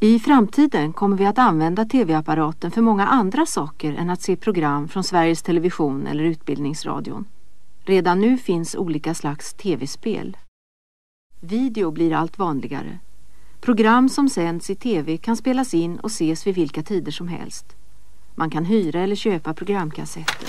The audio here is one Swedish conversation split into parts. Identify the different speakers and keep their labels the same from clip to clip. Speaker 1: I framtiden kommer vi att använda tv-apparaten för många andra saker än att se program från Sveriges Television eller Utbildningsradion. Redan nu finns olika slags tv-spel. Video blir allt vanligare. Program som sänds i tv kan spelas in och ses vid vilka tider som helst. Man kan hyra eller köpa programkassetter.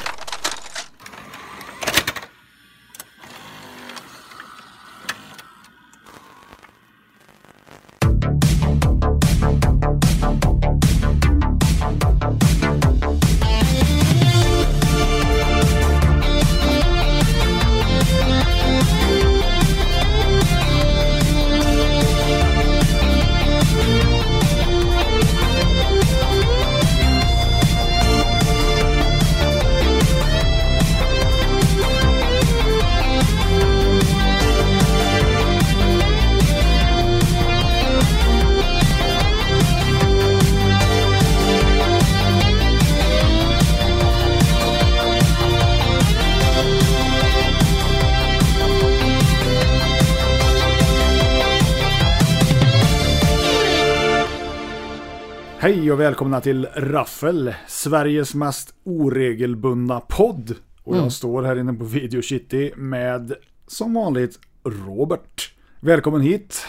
Speaker 2: Hej och välkomna till Raffel, Sveriges mest oregelbundna podd. Och jag står här inne på Video City med, som vanligt, Robert. Välkommen hit,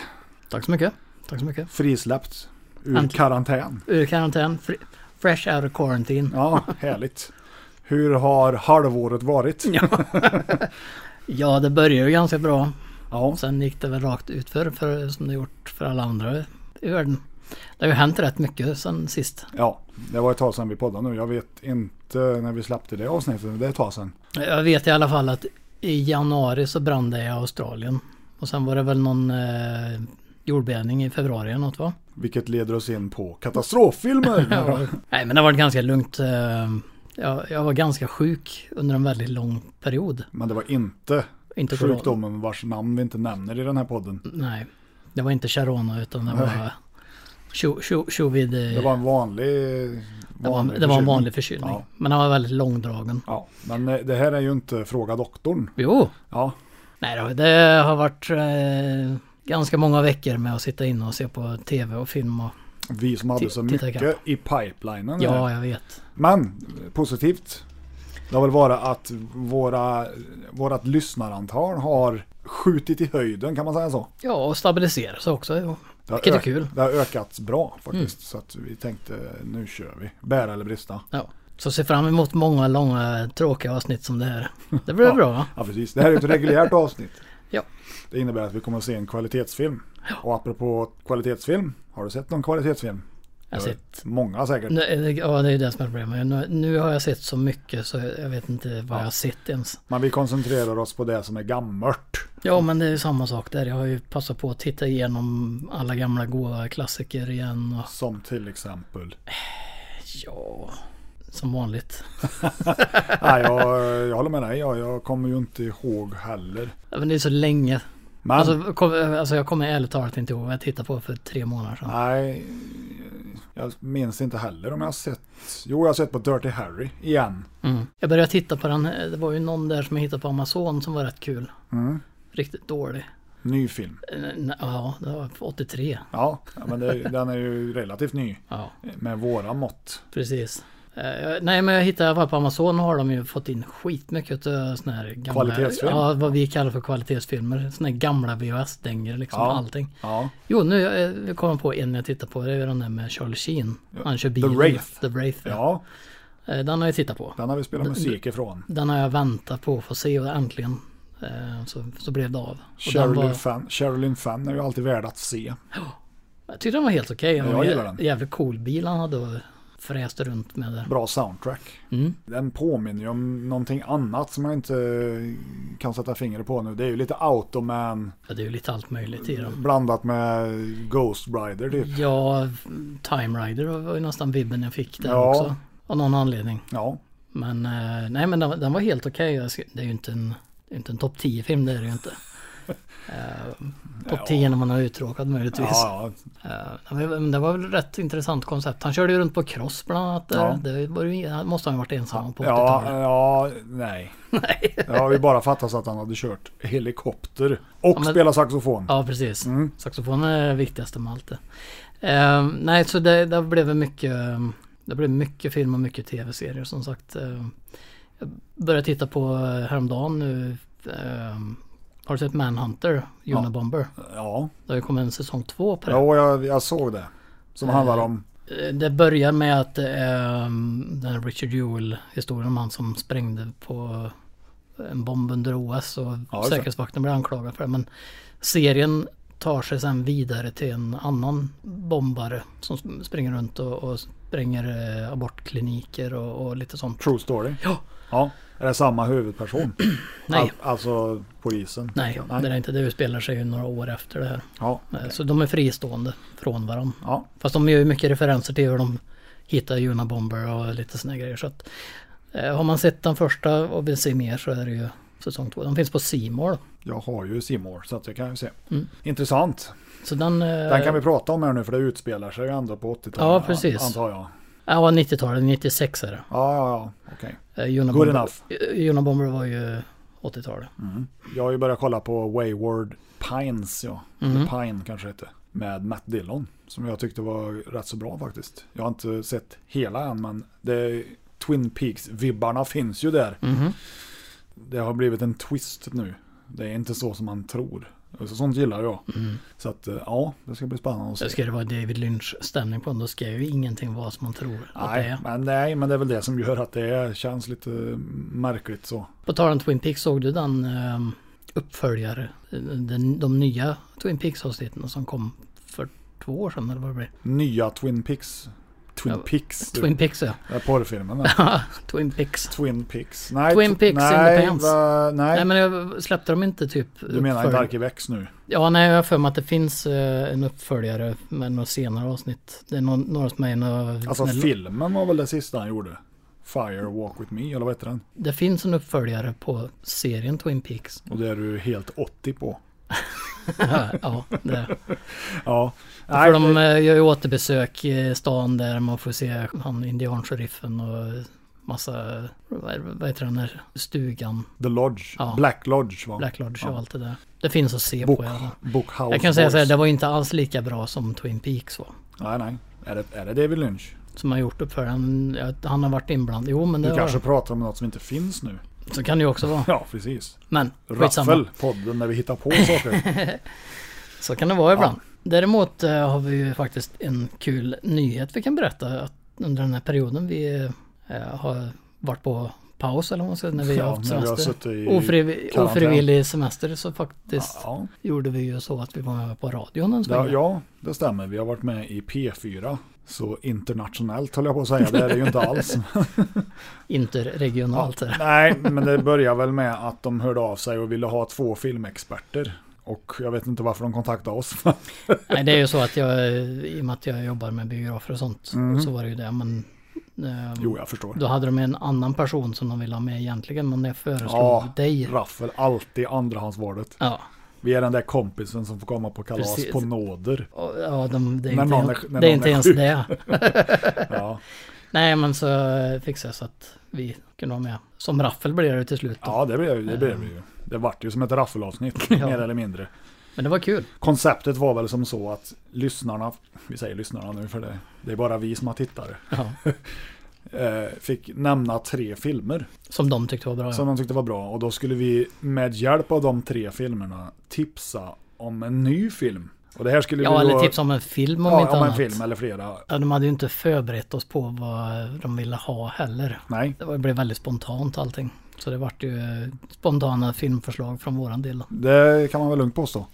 Speaker 3: Tack så mycket. Tack så mycket.
Speaker 2: frisläppt ur
Speaker 3: Äntligen.
Speaker 2: karantän.
Speaker 3: Ur karantän. fri- Fresh out of quarantine.
Speaker 2: Ja, härligt. Hur har halvåret varit?
Speaker 3: Ja, det började ju ganska bra.
Speaker 2: Ja,
Speaker 3: Sen gick det väl rakt utför för, som det gjort för alla andra i världen. Det har ju hänt rätt mycket sen sist.
Speaker 2: ja, det var ett tag sedan vi poddade nu. Jag vet inte när vi släppte det avsnittet, men det är ett tag sedan.
Speaker 3: Jag vet i alla fall att i januari så brann det i Australien. Och sen var det väl någon eh, jordbävning i februari eller något va?
Speaker 2: Vilket leder oss in på katastroffilmer.
Speaker 3: Nej men det har varit ganska lugnt. eh, Jag, jag var ganska sjuk under en väldigt lång period.
Speaker 2: Men det var inte
Speaker 3: Inte corona.
Speaker 2: sjukdomen vars namn vi inte nämner i den här podden.
Speaker 3: Nej, det var inte Sharona utan det var tjo- tjo- tjovid... eh,
Speaker 2: Det var en vanlig...
Speaker 3: det var,
Speaker 2: vanlig
Speaker 3: det var en
Speaker 2: förkylning.
Speaker 3: vanlig förkylning.
Speaker 2: Ja.
Speaker 3: Men den var väldigt långdragen.
Speaker 2: Ja, men eh, det här är ju inte Fråga doktorn.
Speaker 3: Jo,
Speaker 2: Ja,
Speaker 3: nej då, det har varit eh, ganska många veckor med att sitta inne och se på tv och film och...
Speaker 2: vi som hade
Speaker 3: Ti-
Speaker 2: så
Speaker 3: titta
Speaker 2: mycket i pipelinen.
Speaker 3: Ja,
Speaker 2: här.
Speaker 3: jag vet.
Speaker 2: Men eh, positivt. Det har väl varit att våra, vårat lyssnarantal har skjutit i höjden kan man säga så.
Speaker 3: Ja, och stabilisera sig också. Jo.
Speaker 2: Det har
Speaker 3: Vilket är
Speaker 2: ök-
Speaker 3: kul. Mm.
Speaker 2: Det har ökat bra faktiskt. Så att vi tänkte nu kör vi. Bära eller brista.
Speaker 3: Ja. Så se fram emot många långa tråkiga avsnitt som det här. Det blir bra va?
Speaker 2: Ja precis, det här är ju ett reguljärt avsnitt.
Speaker 3: Ja.
Speaker 2: Det innebär att vi kommer att se en kvalitetsfilm. Och apropå kvalitetsfilm, har du sett någon kvalitetsfilm?
Speaker 3: Jag har
Speaker 2: Det är
Speaker 3: sett-
Speaker 2: Många säkert.
Speaker 3: Nu, ja, det är ju det som är problemet. Nu, nu har jag sett så mycket så jag vet inte vad jag har sett ens.
Speaker 2: Men vi koncentrerar oss på det som är gammalt.
Speaker 3: Ja men det är ju samma sak där. Jag har ju passat på att titta igenom alla gamla goa klassiker igen. Och,
Speaker 2: Som till exempel.
Speaker 3: ja, som vanligt.
Speaker 2: Nej, jag, jag håller med dig. Jag, jag kommer ju inte ihåg heller.
Speaker 3: Ja, Men det är så länge.
Speaker 2: Men,
Speaker 3: Alltså, kom, alltså jag kommer ärligt talat inte ihåg vad jag tittade på för tre månader sedan.
Speaker 2: nej. Jag minns inte heller om jag har sett. Jo, jag har sett på Dirty Harry igen.
Speaker 3: Mm. Jag började titta på den. Det var ju någon där som jag hittade på Amazon som var rätt kul.
Speaker 2: Mm.
Speaker 3: Riktigt dålig.
Speaker 2: Ny film.
Speaker 3: Eh, nej, Ja, det var 83.
Speaker 2: Ja, men det, den är ju relativt ny.
Speaker 3: Ja,
Speaker 2: Med våra mått.
Speaker 3: precis. Eh, jag- Nej men jag hittade bara på Amazon har de ju fått in skitmycket av såna här gamla...
Speaker 2: Kvalitetsfilm.
Speaker 3: Ja, vad vi kallar för kvalitetsfilmer. Såna här gamla VHS-dängor liksom.
Speaker 2: Ja.
Speaker 3: Allting.
Speaker 2: Ja.
Speaker 3: Jo, nu eh, vi kommer på en jag tittar på. Det är den där med Charlie Sheen. Han kör bilen.
Speaker 2: Wraith.
Speaker 3: The Wraith. Ja.
Speaker 2: Ja,
Speaker 3: Eh, Den har jag tittat på.
Speaker 2: den har vi spelat musik ifrån.
Speaker 3: Den har jag väntat på att få se och äntligen eh, så, så blev det av. Och den
Speaker 2: Sherilyn
Speaker 3: var,
Speaker 2: Fenn Sherilyn Fenn är ju alltid värd att se.
Speaker 3: jag tyckte den var helt okej.
Speaker 2: Ja,
Speaker 3: Okay.
Speaker 2: jag gillar den.
Speaker 3: Jävligt cool bil han hade och fräste runt med det.
Speaker 2: Bra soundtrack.
Speaker 3: Mm.
Speaker 2: Den påminner ju om någonting annat som jag inte kan sätta fingret på nu. Det är ju lite Automan
Speaker 3: Ja, det är ju lite allt möjligt i dem.
Speaker 2: blandat med Ghost Rider typ.
Speaker 3: Mm. Ja, Time Rider var ju nästan vibben jag fick där
Speaker 2: Ja.
Speaker 3: också. Av någon anledning.
Speaker 2: Ja,
Speaker 3: Men eh, nej men den, den var helt okej. Jag ska- Det är ju inte en, det är inte en topp 10 film det är det ju inte. Eh, topp 10 när man har uttråkat möjligtvis.
Speaker 2: ja, ja.
Speaker 3: Eh, men- men det var väl ett rätt intressant koncept. Han körde ju runt på cross bland annat. där.
Speaker 2: Ja.
Speaker 3: Det var ju, han måste han ha varit ensam på 80-talet.
Speaker 2: ja, eh, ja nej.
Speaker 3: Nej.
Speaker 2: Det har ju bara fattats att han hade kört helikopter och
Speaker 3: men-
Speaker 2: spelat saxofon.
Speaker 3: Ja precis. Saxofonen är det viktigaste med allt det. Eh, nej, så det, det blev mycket, eh, det blev mycket film och mycket tv-serier som sagt. Eh, jag började titta på eh, häromdagen nu. Eh, har du sett Manhunter? Jonah Bomber.
Speaker 2: Ja,
Speaker 3: Det har ju kommit en säsong två på det.
Speaker 2: jo, jag, jag såg det. Som handlar om...
Speaker 3: Eh, Det börjar med att det är mm, den här Richard Jewell historien om han som sprängde på en bomb under OS och
Speaker 2: Ja, just det.
Speaker 3: säkerhetsvakten blir anklagad för det. Men serien tar sig sen vidare till en annan bombare som sp- springer runt och, och spränger eh, abortkliniker och, och lite sånt.
Speaker 2: True story.
Speaker 3: Ja,
Speaker 2: Ja, är det samma huvudperson?
Speaker 3: nej,
Speaker 2: Al- alltså polisen?
Speaker 3: nej, det är inte det. Det spelar sig ju några år efter det här.
Speaker 2: Ja,
Speaker 3: Eh, Så de är fristående från varandra.
Speaker 2: ja.
Speaker 3: Fast de gör ju mycket referenser till hur de hittar Juna Bomber och lite såna grejer. Så att, eh, har man sett den första och vill se mer så är det ju säsong två. De finns på C More.
Speaker 2: Jag har ju Simor så att det kan jag ju se.
Speaker 3: Mm.
Speaker 2: Intressant.
Speaker 3: Så den... eh,
Speaker 2: Den kan vi prata om här nu för det utspelar sig ju ändå på 80-talet.
Speaker 3: Ja, precis.
Speaker 2: Antar jag.
Speaker 3: Ja, 90-talet, 96 är det.
Speaker 2: Ja, ja, ja. Okej.
Speaker 3: Eh, Juna
Speaker 2: Good
Speaker 3: Bomber, Eh,
Speaker 2: enough. Mm.
Speaker 3: Juna Bomber var ju 80-talet.
Speaker 2: Jag har ju börjat kolla på Wayward Pines, ja.
Speaker 3: Mhm. Mm.
Speaker 2: Eller Pine kanske det heter. Med Matt Dillon. Som jag tyckte var rätt så bra faktiskt. Jag har inte sett hela än men det, Twin Peaks-vibbarna finns ju där.
Speaker 3: Mhm.
Speaker 2: Det har blivit en twist nu. Det är inte så som man tror. Så sånt gillar jag. Så att eh, ja, det ska bli spännande att se.
Speaker 3: Så Mm. ska det vara David Lynch-stämning på den, då ska ju ingenting vara som man tror att det
Speaker 2: Nej
Speaker 3: är.
Speaker 2: men, nej, men det är väl det som gör att det känns lite märkligt så.
Speaker 3: På tal om Twin Peaks, såg du den eh, uppföljare? eh, Den, de nya Twin Peaks-avsnitten som kom för två år sedan eller vad det blir?
Speaker 2: Nya Twin Peaks. Twin
Speaker 3: Ja,
Speaker 2: Peaks. du.
Speaker 3: Twin Peaks ja.
Speaker 2: Det är porrfilmen där.
Speaker 3: Twin Peaks.
Speaker 2: Twin Peaks. Nej,
Speaker 3: Twin
Speaker 2: tw-
Speaker 3: Peaks in the
Speaker 2: nej,
Speaker 3: pants.
Speaker 2: va- nej,
Speaker 3: Nej men jag släppte de inte typ...
Speaker 2: du menar inte
Speaker 3: uppfölj-
Speaker 2: Arkivex nu?
Speaker 3: Ja nej jag har för mig att det finns eh, en uppföljare med några senare avsnitt. Det är någon, några som är i några...
Speaker 2: Alltså
Speaker 3: med-
Speaker 2: filmen var väl det sista han gjorde? Fire Walk With Me, eller vad heter den?
Speaker 3: Det finns en uppföljare på serien Twin Peaks.
Speaker 2: Och det är du helt 80 på.
Speaker 3: ja, det.
Speaker 2: Ja.
Speaker 3: För
Speaker 2: Nej,
Speaker 3: de
Speaker 2: det-
Speaker 3: eh, gör ju återbesök i stan där man får se han indiansheriffen och massa... Vad, vad heter den här stugan?
Speaker 2: The Lodge.
Speaker 3: Ja.
Speaker 2: Black Lodge va?
Speaker 3: Black Lodge och
Speaker 2: Ja.
Speaker 3: allt det där. Det finns att se
Speaker 2: Book,
Speaker 3: på i alla fall.
Speaker 2: Bookhouse
Speaker 3: Jag kan säga så här,
Speaker 2: Boys.
Speaker 3: det var ju inte alls lika bra som Twin Peaks var.
Speaker 2: Nej, nej. Är det, är det David Lynch?
Speaker 3: som har gjort uppföljaren. ja, Han har varit inblandad. Jo men
Speaker 2: Du
Speaker 3: det har
Speaker 2: kanske pratar om något som inte finns nu.
Speaker 3: Så kan det ju också vara.
Speaker 2: Ja, precis.
Speaker 3: Men skitsamma.
Speaker 2: Raffel, podden där vi hittar på saker.
Speaker 3: Så kan det vara ibland. Däremot eh, har vi ju faktiskt en kul nyhet vi kan berätta. Att under den här perioden vi eh, har varit på paus eller vad man ska säga, när vi
Speaker 2: Ja,
Speaker 3: har haft
Speaker 2: när vi har
Speaker 3: semester.
Speaker 2: suttit i
Speaker 3: Ofrivi-
Speaker 2: karantän.
Speaker 3: ofrivillig semester så faktiskt
Speaker 2: ja,
Speaker 3: gjorde vi ju så att vi var med på radion en
Speaker 2: det,
Speaker 3: sväng.
Speaker 2: ja, det stämmer. Vi har varit med i P4. Så internationellt håller jag på att säga. Det är det ju inte alls.
Speaker 3: Interregionalt. där.
Speaker 2: Nej, men det börjar väl med att de hörde av sig och ville ha två filmexperter. Och jag vet inte varför de kontaktade oss.
Speaker 3: Nej det är ju så att jag, i och med att jag jobbar med biografer och sånt, så var det ju det. Men, ehm,
Speaker 2: Mm. Jo, jag förstår.
Speaker 3: Då hade de en annan person som de ville ha med egentligen, men jag föreslog
Speaker 2: Ja,
Speaker 3: dig.
Speaker 2: Raffel, alltid andrahandsvalet.
Speaker 3: Ja,
Speaker 2: Vi är den där kompisen som får komma på kalas
Speaker 3: Precis.
Speaker 2: på nåder.
Speaker 3: och- ja de, det är
Speaker 2: När
Speaker 3: inte,
Speaker 2: någon är- när
Speaker 3: det är
Speaker 2: någon
Speaker 3: inte
Speaker 2: är
Speaker 3: ens
Speaker 2: sjuk.
Speaker 3: det.
Speaker 2: Ja,
Speaker 3: Nej, men så eh, fixade jag så att vi kunde vara med. Som raffel blev det till slut. Då.
Speaker 2: ja det blev det blev ju. Det vart ju som ett raffelavsnitt, mer eller mindre.
Speaker 3: Men det var kul.
Speaker 2: Konceptet var väl som så att lyssnarna, vi säger lyssnarna nu för det, det är bara vi som har tittare,
Speaker 3: Ja,
Speaker 2: eh, fick nämna tre filmer
Speaker 3: som de tyckte var bra.
Speaker 2: som
Speaker 3: Ja.
Speaker 2: de tyckte var bra. Och då skulle vi med hjälp av de tre filmerna tipsa om en ny film. Och det här skulle
Speaker 3: ja,
Speaker 2: vi då...
Speaker 3: eller tips om en film om
Speaker 2: ja,
Speaker 3: inte
Speaker 2: om en
Speaker 3: annat.
Speaker 2: film eller flera.
Speaker 3: Ja, de hade ju inte förberett oss på vad de ville ha heller.
Speaker 2: Nej,
Speaker 3: Det var- blev väldigt spontant allting. Så det vart ju eh, spontana filmförslag från våran del. Då.
Speaker 2: det kan man väl lugnt påstå.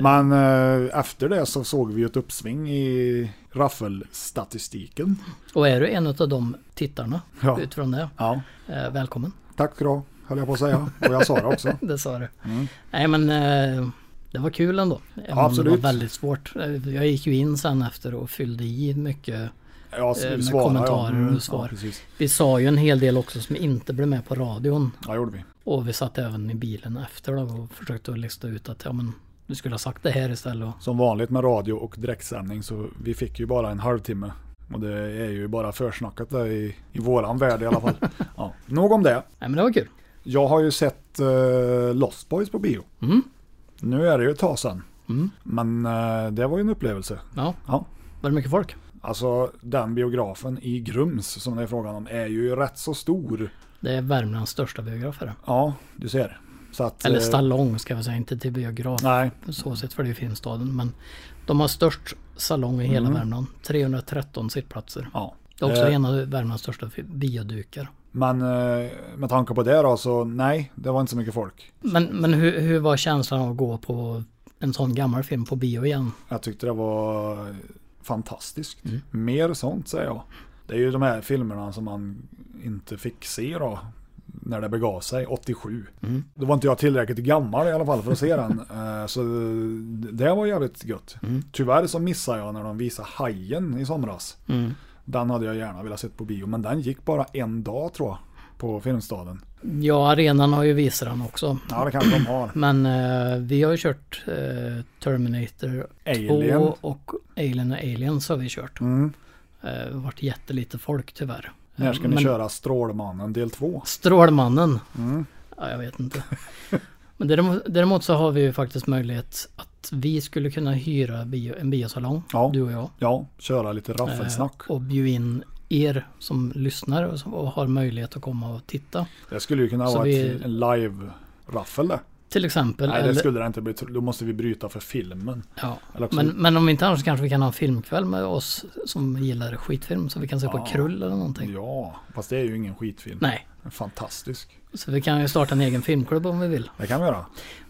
Speaker 2: Men eh, efter det så såg vi ju ett uppsving i raffelstatistiken.
Speaker 3: Och är du en av de tittarna
Speaker 2: Ja.
Speaker 3: utifrån det,
Speaker 2: ja,
Speaker 3: eh, välkommen.
Speaker 2: tack ska du ha, höll jag på att säga. Och jag sa det också.
Speaker 3: Det sa du.
Speaker 2: Mm.
Speaker 3: Nej men eh, det var kul ändå. Även om Det
Speaker 2: absolut.
Speaker 3: var väldigt svårt. Eh, Jag gick ju in sen efter och fyllde i mycket.
Speaker 2: Ja,
Speaker 3: Eh,
Speaker 2: vi
Speaker 3: med
Speaker 2: svarar,
Speaker 3: kommentarer och
Speaker 2: Mm,
Speaker 3: svar.
Speaker 2: Ja, precis.
Speaker 3: Vi sa ju en hel del också som inte blev med på radion.
Speaker 2: Ja, gjorde vi.
Speaker 3: Och vi satt även i bilen efter då och försökte att lista ut att ja men du skulle ha sagt det här istället. Och,
Speaker 2: Som vanligt med radio och direktsändning så vi fick ju bara en halvtimme. Och det är ju bara försnackat där i, i våran värld i alla fall. Ja, nog om det.
Speaker 3: nej men det var kul.
Speaker 2: Jag har ju sett eh, Lost Boys på bio.
Speaker 3: Mm.
Speaker 2: Nu är det ju ett tag sedan.
Speaker 3: Mm.
Speaker 2: Men eh, det var ju en upplevelse.
Speaker 3: Ja,
Speaker 2: Ja.
Speaker 3: Var det mycket folk?
Speaker 2: Alltså den biografen i Grums som det är frågan om är ju rätt så stor.
Speaker 3: Det är Värmlands största biograf är det.
Speaker 2: Ja, du ser. Så att,
Speaker 3: Eller
Speaker 2: eh,
Speaker 3: stallong ska vi säga, inte till biograf
Speaker 2: Nej,
Speaker 3: på så sätt för det är ju filmstaden. Men de har störst salong i hela
Speaker 2: Mm.
Speaker 3: Värmland. 313 sittplatser.
Speaker 2: ja.
Speaker 3: Det är också
Speaker 2: Eh.
Speaker 3: en av Värmlands största fi- biodukar.
Speaker 2: Men eh, med tanke på det då så nej, det var inte så mycket folk.
Speaker 3: Men, men hur, hur var känslan av att gå på en sån gammal film på bio igen?
Speaker 2: Jag tyckte det var fantastiskt.
Speaker 3: Mm.
Speaker 2: Mer sånt säger jag. Det är ju de här filmerna som man inte fick se då. När det begav sig, 87.
Speaker 3: Mm.
Speaker 2: Då var inte jag tillräckligt gammal i alla fall för att se den. Eh, Så det var jävligt gött.
Speaker 3: Mm.
Speaker 2: Tyvärr så missade jag när de visade Hajen i somras. Den hade jag gärna velat sett på bio, men den gick bara en dag tror jag. På Filmstaden.
Speaker 3: Ja, arenan har ju visat den också.
Speaker 2: Ja, det kanske de har.
Speaker 3: Men eh, vi har ju kört eh, Terminator 2
Speaker 2: Alien.
Speaker 3: och Alien och Aliens har vi kört.
Speaker 2: Mm.
Speaker 3: Eh, varit jättelite folk tyvärr.
Speaker 2: När ska ni
Speaker 3: Men-
Speaker 2: köra Strålmannen del 2?
Speaker 3: Strålmannen.
Speaker 2: Mm.
Speaker 3: Ja, jag vet inte. Men däremot, däremot så har vi ju faktiskt möjlighet att vi skulle kunna hyra bio, en biosalong,
Speaker 2: Ja.
Speaker 3: du och jag.
Speaker 2: Ja, köra lite raffelsnack.
Speaker 3: Eh, och bjuda in er som lyssnar och, som, och har möjlighet att komma och titta.
Speaker 2: Det skulle ju kunna
Speaker 3: Så
Speaker 2: vara
Speaker 3: vi-
Speaker 2: ett, en live-raffel det.
Speaker 3: Till exempel.
Speaker 2: Nej, det
Speaker 3: eller,
Speaker 2: skulle det inte bli. Då måste vi bryta för filmen.
Speaker 3: ja.
Speaker 2: Eller också,
Speaker 3: men, men om inte annars kanske vi kan ha en filmkväll med oss som gillar skitfilm. Så vi kan se på
Speaker 2: Ja. Mm.
Speaker 3: Krull eller någonting.
Speaker 2: Ja, fast det är ju ingen skitfilm.
Speaker 3: Nej,
Speaker 2: Fantastisk.
Speaker 3: så vi kan ju starta en egen filmklubb om vi vill.
Speaker 2: Det kan vi göra.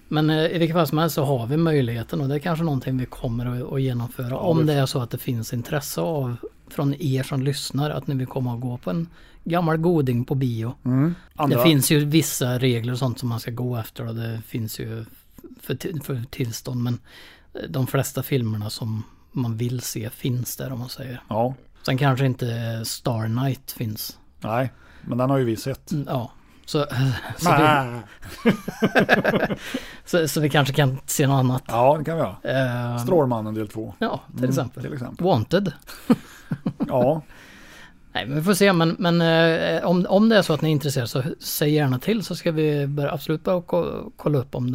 Speaker 3: Men eh, i vilket fall som helst så har vi möjligheten och det är kanske någonting vi kommer att, att genomföra om
Speaker 2: vi-
Speaker 3: det är så att det finns intresse av från er som lyssnar att ni vill komma och gå på en gammal goding på bio.
Speaker 2: Mm. Andra,
Speaker 3: Det finns ju vissa regler och sånt som man ska gå efter och det finns ju för, ti- för tillstånd men eh, de flesta filmerna som man vill se finns där om man säger.
Speaker 2: Ja,
Speaker 3: Sen kanske inte Star Night finns.
Speaker 2: nej. Men den har ju vi sett.
Speaker 3: Mm, Ja, så, så, vi,
Speaker 2: Nä.
Speaker 3: så, så vi kanske kan se något annat.
Speaker 2: Ja, det kan vi göra.
Speaker 3: Eh,
Speaker 2: Strålmannen del 2.
Speaker 3: Ja, till
Speaker 2: Mm,
Speaker 3: exempel.
Speaker 2: Till exempel.
Speaker 3: Wanted.
Speaker 2: Ja,
Speaker 3: Nej, men vi får se. Men, men eh, om, om det är så att ni är intresserade så säg gärna till så ska vi börja, absolut börja ko- kolla upp om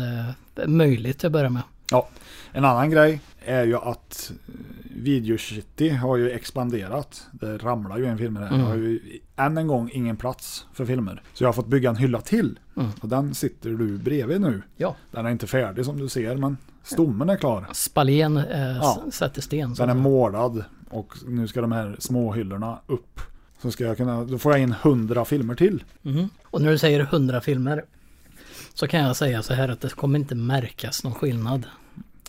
Speaker 3: det är möjligt till att börja med.
Speaker 2: Ja, en annan grej är ju att eh, Video City har ju expanderat. Det ramlar ju en film här. Jag har ju än en gång ingen plats för filmer. Så jag har fått bygga en hylla till. Och den sitter du bredvid nu.
Speaker 3: Ja,
Speaker 2: Den är inte färdig som du ser men stommen är klar.
Speaker 3: Spalén eh,
Speaker 2: Ja.
Speaker 3: s- sätter sten.
Speaker 2: Den
Speaker 3: Så.
Speaker 2: är målad och nu ska de här små hyllorna upp. Så ska jag kunna, då får jag in hundra filmer till.
Speaker 3: Mhm. Och när du säger 100 filmer så kan jag säga så här att det kommer inte märkas någon skillnad.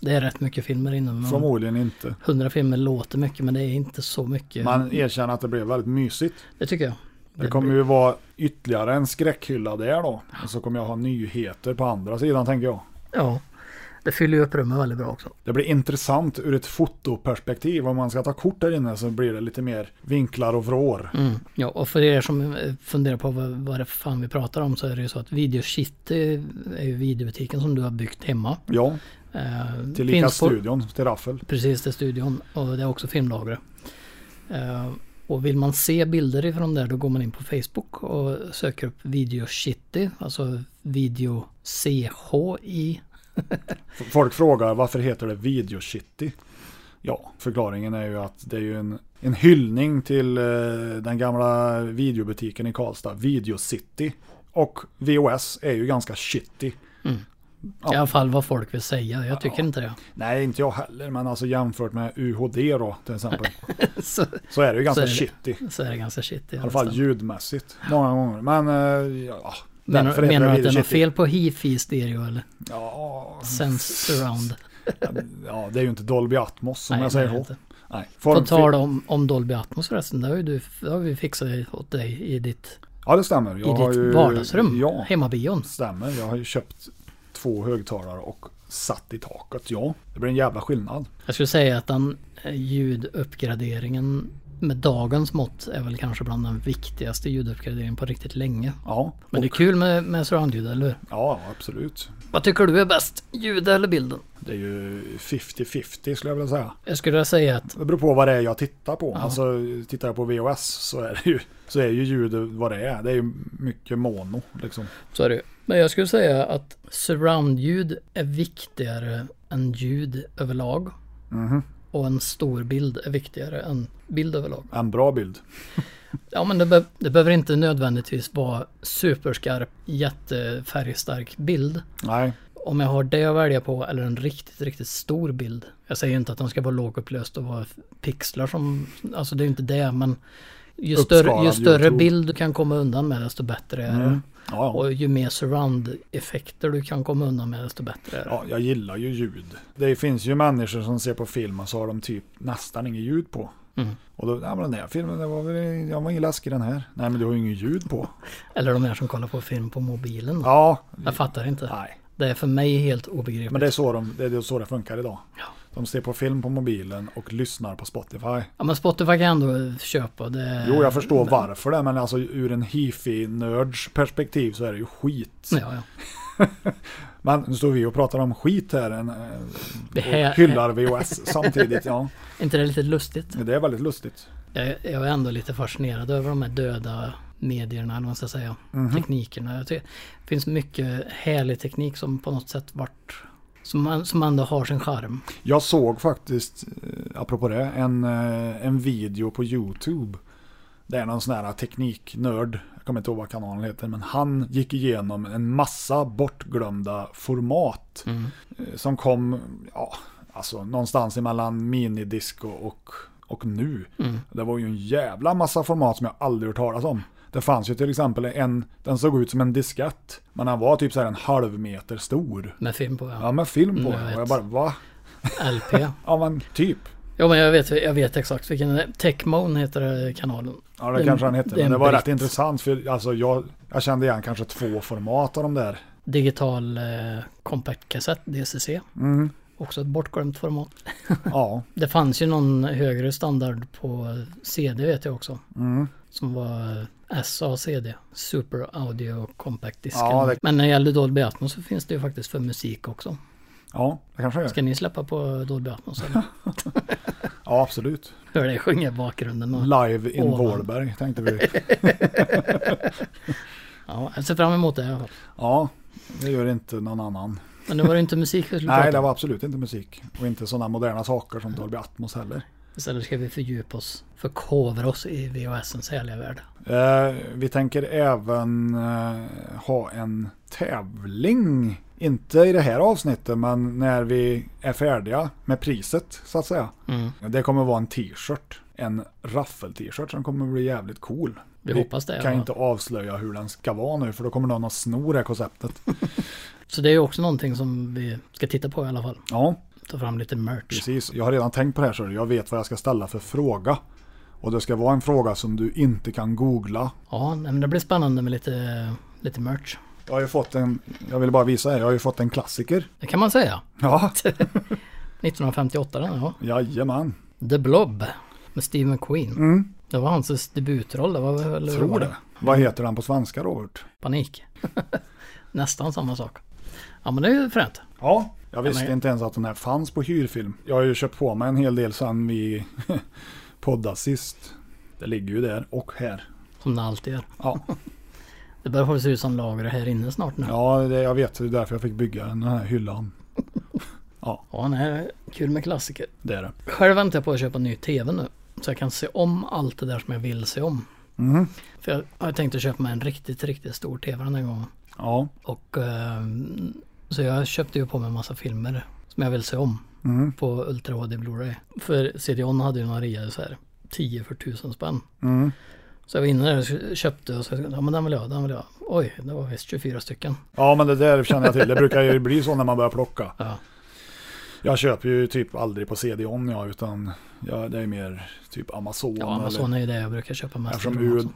Speaker 3: Det är rätt mycket filmer inom. men
Speaker 2: Förmodligen inte.
Speaker 3: 100 filmer låter mycket men det är inte så mycket.
Speaker 2: Man erkänner att det blev väldigt mysigt.
Speaker 3: Det tycker jag.
Speaker 2: Det kommer ju vara ytterligare en skräckhylla där då. Och så kommer jag ha nyheter på andra sidan tänker jag.
Speaker 3: Ja, det fyller ju upp rummet väldigt bra också.
Speaker 2: Det blir intressant ur ett fotoperspektiv. Om man ska ta kort där inne så blir det lite mer vinklar och vrår.
Speaker 3: Mm. Ja, och för er som eh, funderar på vad, vad det fan vi pratar om så är det ju så att Video City är ju videobutiken som du har byggt hemma.
Speaker 2: Ja,
Speaker 3: Eh,
Speaker 2: till lika
Speaker 3: finns på-
Speaker 2: studion, till Raffel.
Speaker 3: Precis, till studion och det är också filmlagret. Eh, och vill man se bilder ifrån där då går man in på Facebook och söker upp Video City, alltså Video CHI.
Speaker 2: F- Folk frågar varför heter det Video City? Ja, förklaringen är ju att det är ju en, en hyllning till eh, den gamla videobutiken i Karlstad, Video City. Och VOS är ju ganska shitty.
Speaker 3: I alla fall vad folk vill säga, jag tycker inte det.
Speaker 2: Nej, inte jag heller, men alltså jämfört med UHD då till exempel.
Speaker 3: så,
Speaker 2: Så är det ju ganska
Speaker 3: Så är det.
Speaker 2: shitty. I
Speaker 3: så är det ganska shitty. I
Speaker 2: alla fall ljudmässigt, många gånger. Men eh, ja,
Speaker 3: Menar,
Speaker 2: därför heter
Speaker 3: menar du att det
Speaker 2: Video
Speaker 3: är något
Speaker 2: City.
Speaker 3: fel på hifi stereo eller
Speaker 2: Ja,
Speaker 3: sense surround?
Speaker 2: ja, det är ju inte Dolby Atmos som
Speaker 3: Nej,
Speaker 2: jag
Speaker 3: det
Speaker 2: säger
Speaker 3: är det
Speaker 2: då.
Speaker 3: inte.
Speaker 2: Nej,
Speaker 3: På
Speaker 2: form-
Speaker 3: tal om, om Dolby Atmos förresten, det har, ju du, det har vi fixat åt dig i ditt,
Speaker 2: Ja, det stämmer.
Speaker 3: i
Speaker 2: Jag har
Speaker 3: ditt
Speaker 2: ju,
Speaker 3: vardagsrum,
Speaker 2: Ja,
Speaker 3: hemmabion.
Speaker 2: stämmer. Jag har ju köpt två högtalare och satt i taket. Ja, det blir en jävla skillnad.
Speaker 3: Jag skulle säga att den eh, ljuduppgraderingen med dagens mått är väl kanske bland den viktigaste ljuduppgraderingen på riktigt länge.
Speaker 2: Ja,
Speaker 3: Men det är kul med, med surroundljud, eller hur?
Speaker 2: ja absolut.
Speaker 3: Vad tycker du är bäst? Ljud eller bilden?
Speaker 2: Det är ju 50-50 skulle jag vilja säga.
Speaker 3: Jag skulle vilja säga att
Speaker 2: Det beror på vad det är jag tittar på. Alltså, tittar jag på VHS så är, det ju, så är ju ljudet vad det är. Det är ju mycket mono. Liksom.
Speaker 3: Så är det ju. Men jag skulle säga att surroundljud är viktigare än ljud överlag. Och en stor bild är viktigare än bild överlag.
Speaker 2: En bra bild.
Speaker 3: Ja men det, be- det behöver inte nödvändigtvis vara superskarp, jättefärgstark bild.
Speaker 2: Nej,
Speaker 3: Om jag har det att välja på eller en riktigt, riktigt stor bild. Jag säger inte att den ska vara lågupplöst och vara f- pixlar som, alltså det är ju inte det men ju större, ju
Speaker 2: Uppskalad,
Speaker 3: större
Speaker 2: YouTube. Mm.
Speaker 3: bild du kan komma undan med desto bättre är det.
Speaker 2: ja, ja.
Speaker 3: Och ju mer surround-effekter du kan komma undan med desto bättre är det.
Speaker 2: ja, jag gillar ju ljud. Det finns ju människor som ser på film och så har de typ nästan inget ljud på.
Speaker 3: Mm.
Speaker 2: Och då, ja men den här filmen, det var väl, jag var ingen läskig den här. Nej men du har ju inget ljud
Speaker 3: Mm.
Speaker 2: på.
Speaker 3: Eller de här som kollar på film på mobilen.
Speaker 2: Ja,
Speaker 3: Jag fattar inte.
Speaker 2: nej.
Speaker 3: Det är för mig helt obegripligt.
Speaker 2: Men det är så, de, det, är så det funkar idag.
Speaker 3: Ja.
Speaker 2: De ser på film på mobilen och lyssnar på Spotify.
Speaker 3: Ja men Spotify kan jag ändå köpa. Det...
Speaker 2: Jo, jag förstår varför det, men alltså ur en hifi-nörds perspektiv så är det ju skit.
Speaker 3: Ja, ja.
Speaker 2: Men nu står vi och pratar om skit här en, eh,
Speaker 3: Det här-
Speaker 2: och hyllar VHS samtidigt. Ja,
Speaker 3: Är inte det lite lustigt?
Speaker 2: det är väldigt lustigt.
Speaker 3: Jag, jag är ändå lite fascinerad över de här döda medierna, eller vad man ska säga. Teknikerna. Jag tycker, det finns mycket härlig teknik som på något sätt vart... Som, man- som ändå har sin charm.
Speaker 2: Jag såg faktiskt, eh, apropå det, en, eh, en video på YouTube. Det är någon sån här tekniknörd, jag kommer inte ihåg vad kanalen heter, men han gick igenom en massa bortglömda format.
Speaker 3: Mm.
Speaker 2: eh, Som kom, ja, alltså någonstans emellan minidisk och, och, och nu.
Speaker 3: Mm.
Speaker 2: Det var ju en jävla massa format som jag aldrig hört talas om. Det fanns ju till exempel en, den såg ut som en diskett, men den var typ så här en halv meter stor.
Speaker 3: Med film på,
Speaker 2: Ja,
Speaker 3: ja.
Speaker 2: med film på
Speaker 3: Mm, jag
Speaker 2: den. Och jag
Speaker 3: vet.
Speaker 2: bara, va?
Speaker 3: LP.
Speaker 2: Ja men typ.
Speaker 3: Jo men jag vet, jag vet exakt vilken... det är. Techmoan heter det, kanalen.
Speaker 2: Ja det
Speaker 3: Det är en-
Speaker 2: kanske han hette.
Speaker 3: det är
Speaker 2: men det
Speaker 3: en
Speaker 2: var
Speaker 3: britt.
Speaker 2: rätt intressant för alltså, jag, jag kände igen kanske två format av de där.
Speaker 3: Digital eh, Compact Cassette, DCC.
Speaker 2: Mm.
Speaker 3: Också ett bortglömt format.
Speaker 2: Ja.
Speaker 3: Det fanns ju någon högre standard på CD vet jag också.
Speaker 2: Mm.
Speaker 3: Som var SACD, Super Audio Compact Disc.
Speaker 2: Ja, det-
Speaker 3: Men när det gäller Dolby Atmos så finns det ju faktiskt för musik också.
Speaker 2: Ja, det kanske jag gör.
Speaker 3: Ska ni släppa på Dolby Atmos eller?
Speaker 2: Ja, absolut.
Speaker 3: Hör dig sjunga i bakgrunden. Och...
Speaker 2: Live in
Speaker 3: Ovan.
Speaker 2: Vålberg tänkte vi.
Speaker 3: Ja, jag ser fram emot det i alla fall.
Speaker 2: Ja, det gör inte någon annan.
Speaker 3: Men nu var det inte musik vi skulle
Speaker 2: Nej,
Speaker 3: prata
Speaker 2: det
Speaker 3: om.
Speaker 2: var absolut inte musik. Och inte sådana moderna saker som Dolby Atmos heller.
Speaker 3: Istället ska vi fördjupa oss, förkovra oss i VHSens härliga värld.
Speaker 2: Eh, vi tänker även eh, ha en tävling. Inte i det här avsnittet, men när vi är färdiga med priset så att säga.
Speaker 3: Mm.
Speaker 2: Det kommer vara en t-shirt. En raffel-t-shirt som kommer bli jävligt cool.
Speaker 3: Vi hoppas det,
Speaker 2: kan
Speaker 3: ja.
Speaker 2: inte avslöja hur den ska vara nu för då kommer någon att sno det här konceptet.
Speaker 3: Så det är ju också någonting som vi ska titta på i alla fall.
Speaker 2: Ja,
Speaker 3: Ta fram lite merch.
Speaker 2: precis. Jag har redan tänkt på det här så jag vet vad jag ska ställa för fråga. Och det ska vara en fråga som du inte kan googla.
Speaker 3: Ja, nej, men det blir spännande med lite, lite merch.
Speaker 2: Jag har ju fått en, jag vill bara visa er, jag har ju fått en klassiker.
Speaker 3: Det kan man säga.
Speaker 2: Ja,
Speaker 3: 1958 den, ja.
Speaker 2: jajamän.
Speaker 3: The Blob med Steve McQueen.
Speaker 2: Mm.
Speaker 3: Det var hans debutroll, det var väl...
Speaker 2: Tror
Speaker 3: var
Speaker 2: det. Vad heter den på svenska Robert?
Speaker 3: Panik. Nästan samma sak. Ja men det är ju fränt.
Speaker 2: Ja, jag visste
Speaker 3: men-
Speaker 2: inte ens att den här fanns på hyrfilm. Jag har ju köpt på mig en hel del sedan vi poddade sist. Det ligger ju där och här.
Speaker 3: Som det alltid gör.
Speaker 2: Ja,
Speaker 3: Det börjar se ut som lager här inne snart nu. Ja,
Speaker 2: ja det, jag vet. Det är därför jag fick bygga den här hyllan.
Speaker 3: nej, kul med klassiker.
Speaker 2: Det är det.
Speaker 3: Själv väntar jag på att köpa en ny TV nu. Så jag kan se om allt det där som jag vill se om.
Speaker 2: Mhm.
Speaker 3: För jag har tänkt att köpa mig en riktigt, riktigt stor TV den här gången.
Speaker 2: Ja,
Speaker 3: Och eh, så jag köpte ju på mig en massa filmer som jag vill se om
Speaker 2: Mm.
Speaker 3: på Ultra HD Blu-ray. För CD-ON hade ju några reor så här 10 för 1000 spänn.
Speaker 2: Mm.
Speaker 3: Så jag var inne där och köpte och så ja men den vill jag ha, den vill jag ha. Oj, det var visst 24 stycken.
Speaker 2: ja men det där känner jag till. Det brukar ju bli så när man börjar plocka.
Speaker 3: Ja.
Speaker 2: Jag köper ju typ aldrig på CD-ON jag, utan jag, det är mer typ Amazon.
Speaker 3: Ja, Amazon är ju det jag brukar köpa
Speaker 2: eller,
Speaker 3: mest
Speaker 2: eftersom
Speaker 3: ifrån
Speaker 2: U-
Speaker 3: också.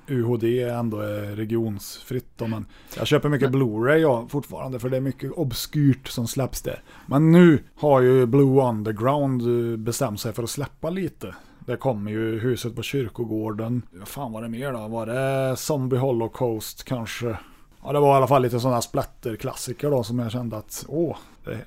Speaker 2: UHD ändå är regionsfritt. Då, men jag köper mycket Blu-ray ja, fortfarande för det är mycket obskyrt som släpps där. Men nu har ju Blue Underground eh, bestämt sig för att släppa lite. Det kommer ju huset på kyrkogården. Fan var det mer då? Var det Zombie Holocaust kanske? Ja, det var i alla fall lite sådana splatterklassiker då som jag kände att, åh,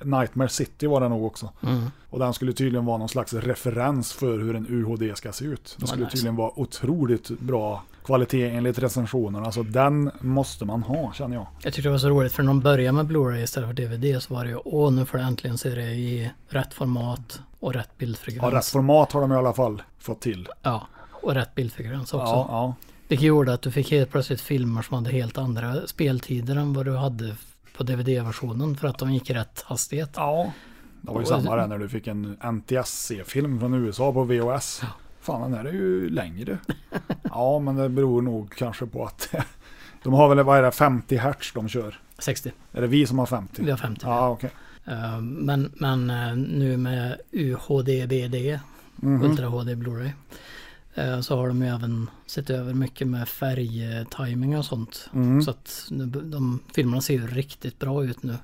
Speaker 2: Nightmare City var det nog också.
Speaker 3: Mm.
Speaker 2: Och den skulle tydligen vara någon slags referens för hur en UHD ska se ut. Den
Speaker 3: Vad
Speaker 2: skulle
Speaker 3: nice.
Speaker 2: tydligen vara otroligt bra kvalitet enligt recensionerna. Så den måste man ha känner jag.
Speaker 3: Jag tyckte det var så roligt för när de började med Blu-ray istället för DVD så var det ju åh nu får du äntligen se det i rätt format och rätt
Speaker 2: Ja,
Speaker 3: bildfrekvens.
Speaker 2: rätt format har de i alla fall fått till.
Speaker 3: Ja, och rätt bildfrekvens också.
Speaker 2: Ja, ja.
Speaker 3: Vilket gjorde att du fick helt plötsligt filmer som hade helt andra speltider än vad du hade på DVD-versionen för att de gick i rätt hastighet.
Speaker 2: ja. Det var ju
Speaker 3: Och-
Speaker 2: samma där när du fick en NTSC-film från USA på VHS. Fan, den här är ju längre. Ja, men det beror nog kanske på att de har väl, vad är det, 50 hertz de kör?
Speaker 3: 60,
Speaker 2: Är det vi som har 50?
Speaker 3: vi har 50.
Speaker 2: Ja, okej.
Speaker 3: Eh, Men, men eh, nu med UHD-BD,
Speaker 2: Mhm. Mm.
Speaker 3: Ultra HD Blu-ray, eh, så har de ju även sett över mycket med färgtiming och sånt.
Speaker 2: Mhm. Mm.
Speaker 3: Så att nu b- de filmerna ser ju riktigt bra ut nu.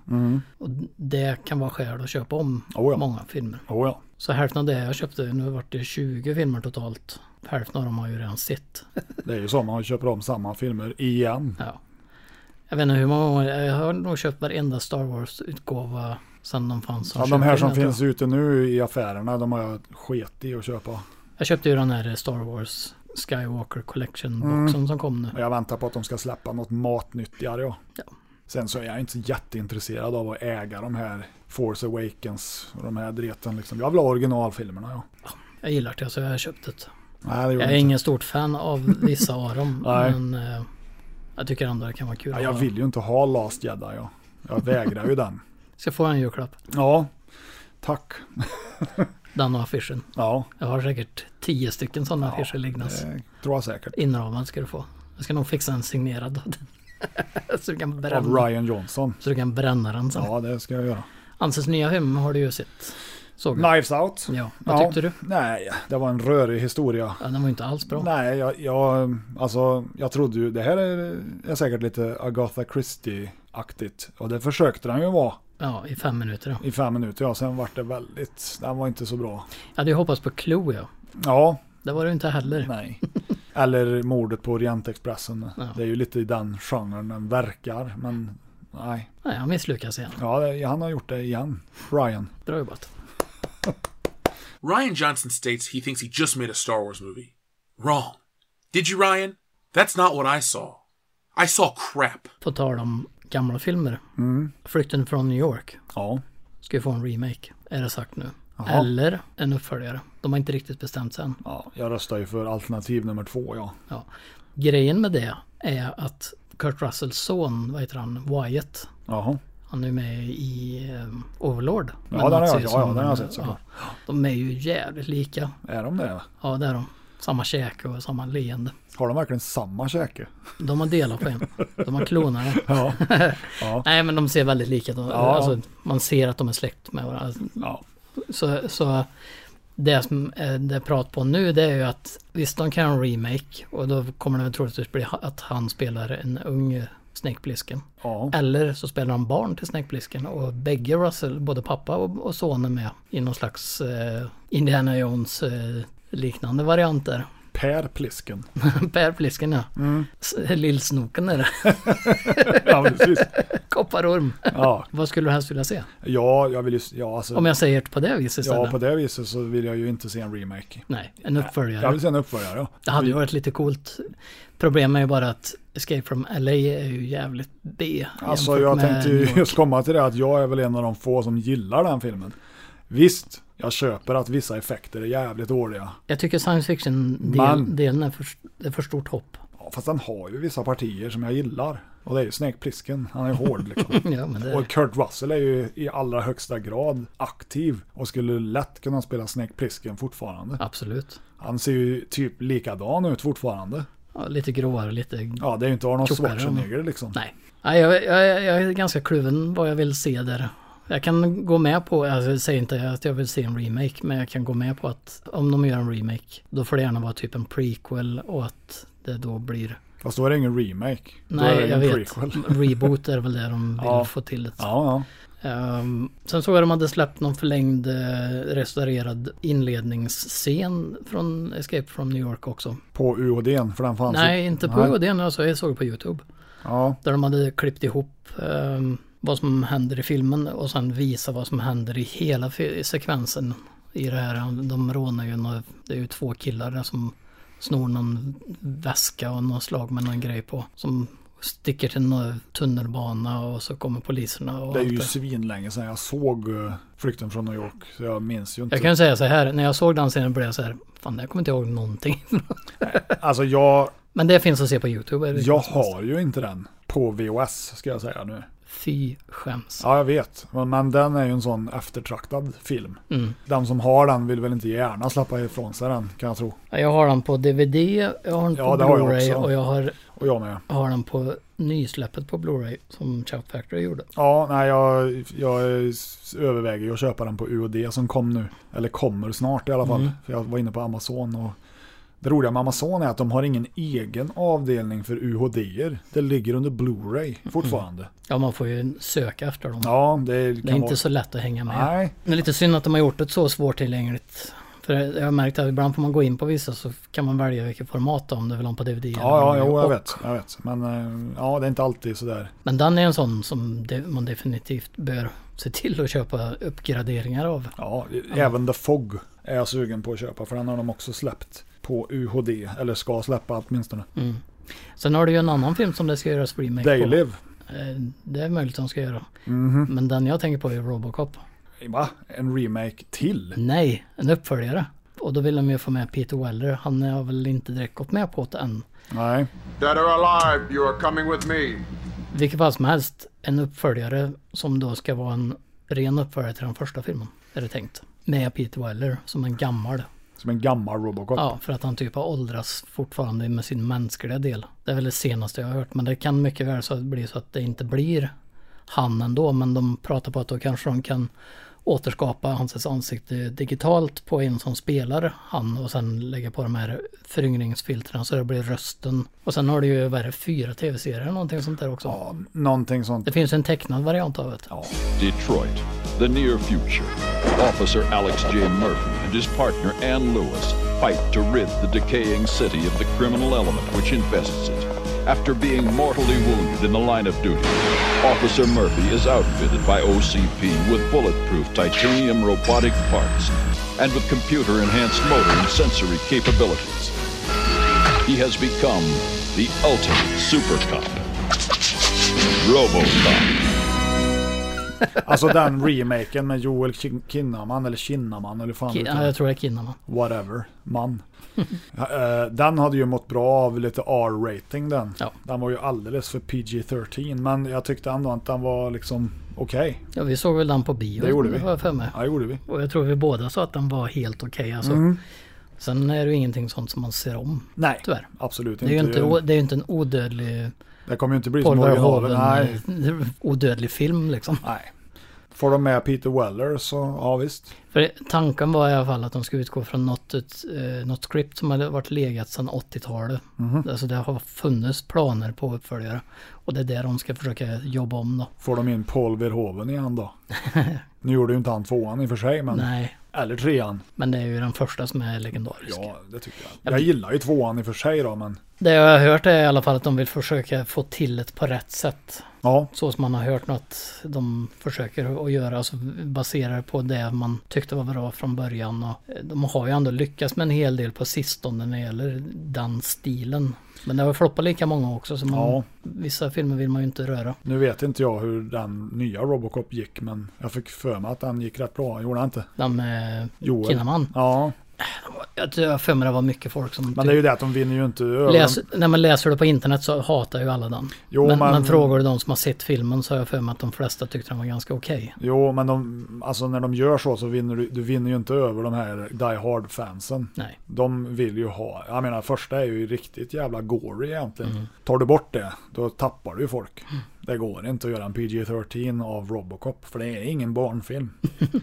Speaker 3: Och det kan vara skäl att köpa om
Speaker 2: Mhm. Oh ja.
Speaker 3: många filmer.
Speaker 2: Oh, ja.
Speaker 3: Så hälften av det jag köpte, nu vart det 20 filmer totalt. Hälften av dem har jag ju redan sett.
Speaker 2: Det är ju så, man köper om samma filmer igen.
Speaker 3: Ja. Jag vet inte hur många gånger, jag har nog köpt varenda Star Wars-utgåva sedan de fanns.
Speaker 2: Ja, de här som
Speaker 3: köpfilmer, tror jag.
Speaker 2: finns ute nu i affärerna, de har jag sket i att köpa.
Speaker 3: Jag köpte ju den här Star Wars Skywalker Collection-boxen
Speaker 2: Mm.
Speaker 3: som kom nu.
Speaker 2: Men jag väntar på att de ska släppa något matnyttigare. Ja.
Speaker 3: Ja.
Speaker 2: Sen så är jag inte så jätteintresserad av att äga de här Force Awakens och de här dreten. Liksom. Jag vill ha originalfilmerna. Ja.
Speaker 3: Jag gillar det så jag har köpt det.
Speaker 2: Nej, det gör
Speaker 3: Jag
Speaker 2: jag,
Speaker 3: är
Speaker 2: inte.
Speaker 3: ingen stort fan av vissa av dem.
Speaker 2: Nej.
Speaker 3: men eh, jag tycker ändå det kan vara kul.
Speaker 2: Ja,
Speaker 3: att
Speaker 2: jag
Speaker 3: ha.
Speaker 2: vill ju inte ha Last Jedi. Ja. Jag vägrar ju den.
Speaker 3: Ska få en julklapp.
Speaker 2: Ja, tack.
Speaker 3: Den och affischen.
Speaker 2: Ja,
Speaker 3: Jag har säkert tio stycken sådana
Speaker 2: Ja,
Speaker 3: affischer liggandes.
Speaker 2: det tror jag säkert.
Speaker 3: Inramad ska du få. Jag ska nog fixa en signerad av den. så, du kan
Speaker 2: Av
Speaker 3: bränna,
Speaker 2: Ryan Johnson.
Speaker 3: så du kan bränna den sen.
Speaker 2: Ja, det ska jag göra.
Speaker 3: Anses nya film har du ju sett. Såg jag.
Speaker 2: Knives Out.
Speaker 3: Ja, vad
Speaker 2: Ja.
Speaker 3: tyckte du?
Speaker 2: Nej, det var en rörig historia.
Speaker 3: Ja, den var ju inte alls bra.
Speaker 2: Nej, jag, jag, alltså, jag trodde ju, det här är, är säkert lite Agatha Christie-aktigt. Och det försökte den ju vara
Speaker 3: Ja, i fem minuter. ja.
Speaker 2: i fem minuter. Ja, sen vart det väldigt, den var inte så bra.
Speaker 3: Jag hade ju hoppats på Clue ja.
Speaker 2: Ja,
Speaker 3: Det var det ju inte heller.
Speaker 2: nej. Eller mordet på Orientexpressen.
Speaker 3: Ja.
Speaker 2: Det är ju lite i den genren den verkar. Men nej,
Speaker 3: Nej, han misslyckas igen.
Speaker 2: ja, det, han har gjort det igen. Ryan.
Speaker 3: Bra jobbat.
Speaker 4: Ryan Johnson states he thinks he just made a Star Wars movie. Wrong. Did you, Ryan? That's not what I saw. I saw crap.
Speaker 3: På tal om gamla filmer.
Speaker 2: Mm.
Speaker 3: Flykten från New York
Speaker 2: Ja,
Speaker 3: ska ju få en remake, är det sagt nu.
Speaker 2: Jaha.
Speaker 3: Eller en uppföljare. De har inte riktigt bestämt sig än.
Speaker 2: ja jag röstar ju för alternativ nummer två. Ja.
Speaker 3: Ja. Grejen med det är att Kurt Russells son, vad heter han, Wyatt,
Speaker 2: Jaha.
Speaker 3: han är ju med i eh, Overlord. Med
Speaker 2: Ja, den har jag,
Speaker 3: nazi
Speaker 2: ja,
Speaker 3: som-
Speaker 2: ja, den har jag sett såklart.
Speaker 3: De är ju jävligt lika.
Speaker 2: Är de det?
Speaker 3: Ja, det är de. Samma käke och samma leende.
Speaker 2: Har de verkligen samma käke?
Speaker 3: De har delat på en. De har klonat en.
Speaker 2: Ja.
Speaker 3: Nej men de ser väldigt lika ut. Alltså, man ser att de är släkt med varandra.
Speaker 2: ja.
Speaker 3: Så, så det som är- det är prat på nu det är ju att visst de kan göra en remake och då kommer det väl troligtvis bli ha- att han spelar en ung Snake Plissken.
Speaker 2: ja.
Speaker 3: Eller så spelar han barn till Snake Plissken och bägge Russell, både pappa och, och son är med i någon slags eh, Indiana Jones eh, liknande varianter.
Speaker 2: Per Plisken.
Speaker 3: Per Plissken ja.
Speaker 2: Mm.
Speaker 3: S- Lillsnoken är det.
Speaker 2: Ja, precis.
Speaker 3: Kopparorm.
Speaker 2: Ja,
Speaker 3: Vad skulle du helst vilja se?
Speaker 2: ja jag vill ju... s- Ja, alltså,
Speaker 3: Om jag säger på det viset istället?
Speaker 2: ja, på det viset så vill jag ju inte se en remake.
Speaker 3: Nej, en uppföljare.
Speaker 2: Jag vill se en uppföljare. ja.
Speaker 3: Det hade ju varit lite coolt. Problemet är ju bara att Escape from LA är ju jävligt B.
Speaker 2: Alltså,
Speaker 3: jämfört
Speaker 2: jag
Speaker 3: med
Speaker 2: tänkte
Speaker 3: New
Speaker 2: ju
Speaker 3: York.
Speaker 2: just komma till det att jag är väl en av de få som gillar den filmen. Visst, jag köper att vissa effekter är jävligt dåliga.
Speaker 3: Jag tycker science
Speaker 2: Man.
Speaker 3: fiction-delen är för, det är för stort hopp.
Speaker 2: Ja, fast den har ju vissa partier som jag gillar. Och det är ju Snake Plissken, han är hård liksom.
Speaker 3: Ja, men det,
Speaker 2: Och Kurt Russell är ju i allra högsta grad aktiv och skulle lätt kunna spela Snake Plissken fortfarande.
Speaker 3: Absolut.
Speaker 2: Han ser ju typ likadan ut fortfarande.
Speaker 3: Ja, lite gråare, lite...
Speaker 2: Ja, det är ju inte Arnold
Speaker 3: Tjockare, men-
Speaker 2: Schwarzenegger liksom.
Speaker 3: Nej. Nej, jag, jag, jag är ganska kluven vad jag vill se där. Jag kan gå med på, alltså, jag säger inte att jag vill se en remake, men jag kan gå med på att om de gör en remake, då får det gärna vara typ en prequel och att det då blir
Speaker 2: Fast då är det ingen remake. då är det
Speaker 3: Nej, jag
Speaker 2: en
Speaker 3: vet.
Speaker 2: prequel.
Speaker 3: Reboot är väl det de vill
Speaker 2: Ja.
Speaker 3: få till. Ett.
Speaker 2: Ja,
Speaker 3: Ehm, sen såg jag att de hade släppt någon förlängd eh, restaurerad inledningsscen från Escape from New York också.
Speaker 2: ja. På UHDn, för den fanns ju-
Speaker 3: Nej, inte på
Speaker 2: Nej.
Speaker 3: UHD nu alltså. Jag såg det på YouTube.
Speaker 2: Ja,
Speaker 3: Där de hade klippt ihop eh, vad som händer i filmen och sen visa vad som händer i hela fi- sekvensen. I det här, de rånar ju, nå- det är ju två killar där som snor någon väska och någon slag med någon grej på. Som sticker till någon tunnelbana och så kommer poliserna och
Speaker 2: det är
Speaker 3: allt
Speaker 2: ju svinlänge sedan jag såg eh, Flykten från New York. Så jag minns ju inte.
Speaker 3: Jag kan säga så här, när jag såg den scenen blev jag så här, fan jag kommer inte ihåg någonting.
Speaker 2: Alltså jag,
Speaker 3: Men det finns att se på YouTube. är det
Speaker 2: jag
Speaker 3: som helst.
Speaker 2: har ju inte den på VOS ska jag säga nu.
Speaker 3: Fy skäms.
Speaker 2: Ja, jag vet. Men- Men den är ju en sån eftertraktad film.
Speaker 3: Mm.
Speaker 2: Den som har den vill väl inte gärna släppa ifrån sig den, kan jag tro.
Speaker 3: Jag har den på DVD, jag har den
Speaker 2: Ja,
Speaker 3: på
Speaker 2: det har jag
Speaker 3: Blu-ray
Speaker 2: också.
Speaker 3: och jag har,
Speaker 2: Och jag med.
Speaker 3: har den på nysläppet på Blu-ray som Shout Factory gjorde.
Speaker 2: Ja, nej, jag, jag överväger ju att köpa den på UOD som kom nu. Eller kommer snart i alla
Speaker 3: Mm.
Speaker 2: fall. För jag var inne på Amazon och det roliga med Amazon är att de har ingen egen avdelning för UHD-er. Det ligger under
Speaker 3: Mm.
Speaker 2: Blu-ray fortfarande.
Speaker 3: Ja, man får ju söka efter dem.
Speaker 2: Ja, det kan
Speaker 3: det är inte
Speaker 2: vara...
Speaker 3: så lätt att hänga med.
Speaker 2: Nej,
Speaker 3: Det är lite synd att de har gjort det så svårtillgängligt. För jag har märkt att ibland får man gå in på vissa så kan man välja vilket format om du vill ha på DVD. eller
Speaker 2: ja, ja,
Speaker 3: Blu-ray.
Speaker 2: jo, jag
Speaker 3: Och-
Speaker 2: vet. Jag vet. Men eh, ja, det är inte alltid sådär.
Speaker 3: Men den är en sån som de- man definitivt bör se till att köpa uppgraderingar av.
Speaker 2: Ja, även The Fog är jag sugen på att köpa för den har de också släppt på UHD. Eller ska släppa åtminstone.
Speaker 3: Sen har du ju en annan film som det ska göras remake på.
Speaker 2: Daylive.
Speaker 3: Eh, Det är möjligt att de ska göra.
Speaker 2: Mhm.
Speaker 3: Men den jag tänker på är Robocop.
Speaker 2: Va? En remake till?
Speaker 3: Nej, en uppföljare. Och då vill de ju få med Peter Weller. Han har väl inte direkt gått med på det än.
Speaker 2: Nej.
Speaker 5: Dead or alive, you are coming with me.
Speaker 3: Vilket fall som helst, en uppföljare som då ska vara en ren uppföljare till den första filmen. Är det tänkt. Med Peter Weller som en gammal.
Speaker 2: Som en gammal Robocop.
Speaker 3: Ja, för att han typ har åldrats fortfarande med sin mänskliga del. Det är väl det senaste jag har hört. Men det kan mycket väl så bli så att det inte blir han ändå. Men de pratar på att då kanske de kan återskapa hans ansikte digitalt på en som spelar han och sen lägga på de här föryngringsfiltren så det blir rösten. Och sen har du ju vad är det, fyra tv-serier eller någonting sånt där också.
Speaker 2: Ja, någonting sånt.
Speaker 3: Det finns ju en tecknad variant av det.
Speaker 6: Detroit, the near future. Officer Alex J. Murphy and his partner Ann Lewis fight to rid the decaying city of the criminal element which infests it. After being mortally wounded in the line of duty, Officer Murphy is outfitted by OCP with bulletproof titanium robotic parts and with computer enhanced motor and sensory capabilities. He has become the ultimate super cop. RoboCop.
Speaker 2: Alltså den remaken med Joel Kin- Kinnaman eller Kinnaman eller fan
Speaker 3: Ki-
Speaker 2: vet jag.
Speaker 3: ja, jag tror det är Kinnaman.
Speaker 2: Whatever. Man. Eh, den hade ju mått bra av lite R-rating den.
Speaker 3: Ja.
Speaker 2: Den var ju alldeles för PG-13 men jag tyckte ändå att den var liksom okej.
Speaker 3: Ja, vi såg väl den på bio.
Speaker 2: Det gjorde vi.
Speaker 3: har jag för mig.
Speaker 2: Ja, det gjorde vi.
Speaker 3: Och jag tror vi båda sa att den var helt okej. alltså. Sen är det ju ingenting sånt som man ser om.
Speaker 2: Nej,
Speaker 3: Tyvärr.
Speaker 2: absolut
Speaker 3: Det är ju
Speaker 2: inte.
Speaker 3: inte, o- det är ju inte en odödlig
Speaker 2: det kommer ju inte bli som
Speaker 3: Paul
Speaker 2: originalen. Nej.
Speaker 3: Verhoeven, odödlig film liksom.
Speaker 2: Nej. Får de med Peter Weller så ja visst.
Speaker 3: För tanken var i alla fall att de skulle utgå från något, ut, eh, något script som hade varit legat sedan 80-talet. Alltså det har funnits planer på uppföljare. Och det är det de ska försöka jobba om då.
Speaker 2: Får de in Paul Verhoeven igen då? nu gjorde ju inte han tvåan i och för sig men.
Speaker 3: Nej,
Speaker 2: Eller trean.
Speaker 3: men det är ju den första som är legendarisk.
Speaker 2: Ja, det tycker jag. Jag gillar ju tvåan i och för sig då, men
Speaker 3: Det jag har hört är i alla fall att de vill försöka få till det på rätt sätt.
Speaker 2: ja,
Speaker 3: Så som man har hört något de försöker att göra, alltså baserar på det man tyckte var bra från början. Och eh, de har ju ändå lyckats med en hel del på sistone när det gäller den stilen. Men det har floppat lika många också, så man,
Speaker 2: Ja.
Speaker 3: vissa filmer vill man ju inte röra.
Speaker 2: nu vet inte jag hur den nya Robocop gick, men jag fick för mig att den gick rätt bra. Gjorde den inte?
Speaker 3: Den med
Speaker 2: Joel.
Speaker 3: Kinnaman.
Speaker 2: Ja,
Speaker 3: Jag tror jag har för mig det var mycket folk som...
Speaker 2: men det är ju det att de vinner ju inte över.
Speaker 3: Läs, när man läser det på internet så hatar ju alla den.
Speaker 2: Jo,
Speaker 3: men,
Speaker 2: men-
Speaker 3: men frågar du de som har sett filmen så har jag för mig att de flesta tyckte den var ganska okej.
Speaker 2: Jo, men de, alltså när de gör så så vinner du, du vinner ju inte över de här Die Hard-fansen.
Speaker 3: Nej.
Speaker 2: De vill ju ha, jag menar första är ju riktigt jävla gory egentligen.
Speaker 3: Mm.
Speaker 2: Tar du bort det, då tappar du ju folk. Det går inte att göra en PG-13 av Robocop, för det är ingen barnfilm.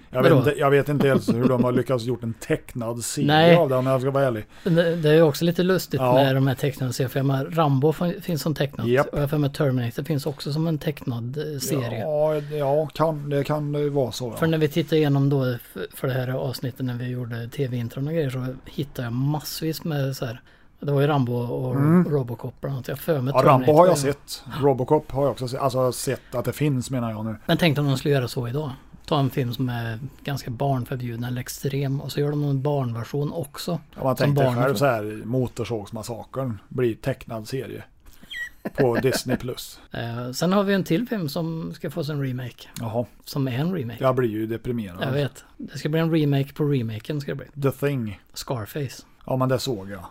Speaker 2: Jag vet,
Speaker 3: Vadå?
Speaker 2: inte, jag vet inte ens hur de har lyckats gjort en tecknad serie
Speaker 3: Nej.
Speaker 2: av det om jag ska vara ärlig.
Speaker 3: Det, det är ju också lite lustigt
Speaker 2: Ja.
Speaker 3: med de här tecknade serierna. För jag menar, Rambo fin- finns som tecknad.
Speaker 2: Japp.
Speaker 3: Och jag har för mig Terminator finns också som en tecknad eh, serie.
Speaker 2: Ja, ja kan, det kan det vara så.
Speaker 3: För
Speaker 2: Ja.
Speaker 3: när vi tittar igenom då f- för det här avsnittet när vi gjorde tv-intron och grejer så hittade jag massvis med så här Det var ju Rambo och Robocop bland annat. Jag har för mig
Speaker 2: Mm. Ja,
Speaker 3: Terminator.
Speaker 2: Rambo har jag sett. Robocop har jag också sett. Alltså sett att det finns menar jag nu.
Speaker 3: Men tänk om de skulle göra så idag. Ta en film som är ganska barnförbjuden eller extrem och så gör de en barnversion också.
Speaker 2: Om man
Speaker 3: som
Speaker 2: tänkte
Speaker 3: barn-
Speaker 2: själv så här, Motorsågsmassakern blir tecknad serie. På Disney+. Plus.
Speaker 3: Eh, sen har vi en till film som ska få sin remake.
Speaker 2: Jaha,
Speaker 3: Som är en remake.
Speaker 2: jag blir ju
Speaker 3: Jag
Speaker 2: deprimerad.
Speaker 3: vet. Det ska bli en remake på remaken ska det bli.
Speaker 2: The Thing.
Speaker 3: Scarface.
Speaker 2: Ja men det såg jag.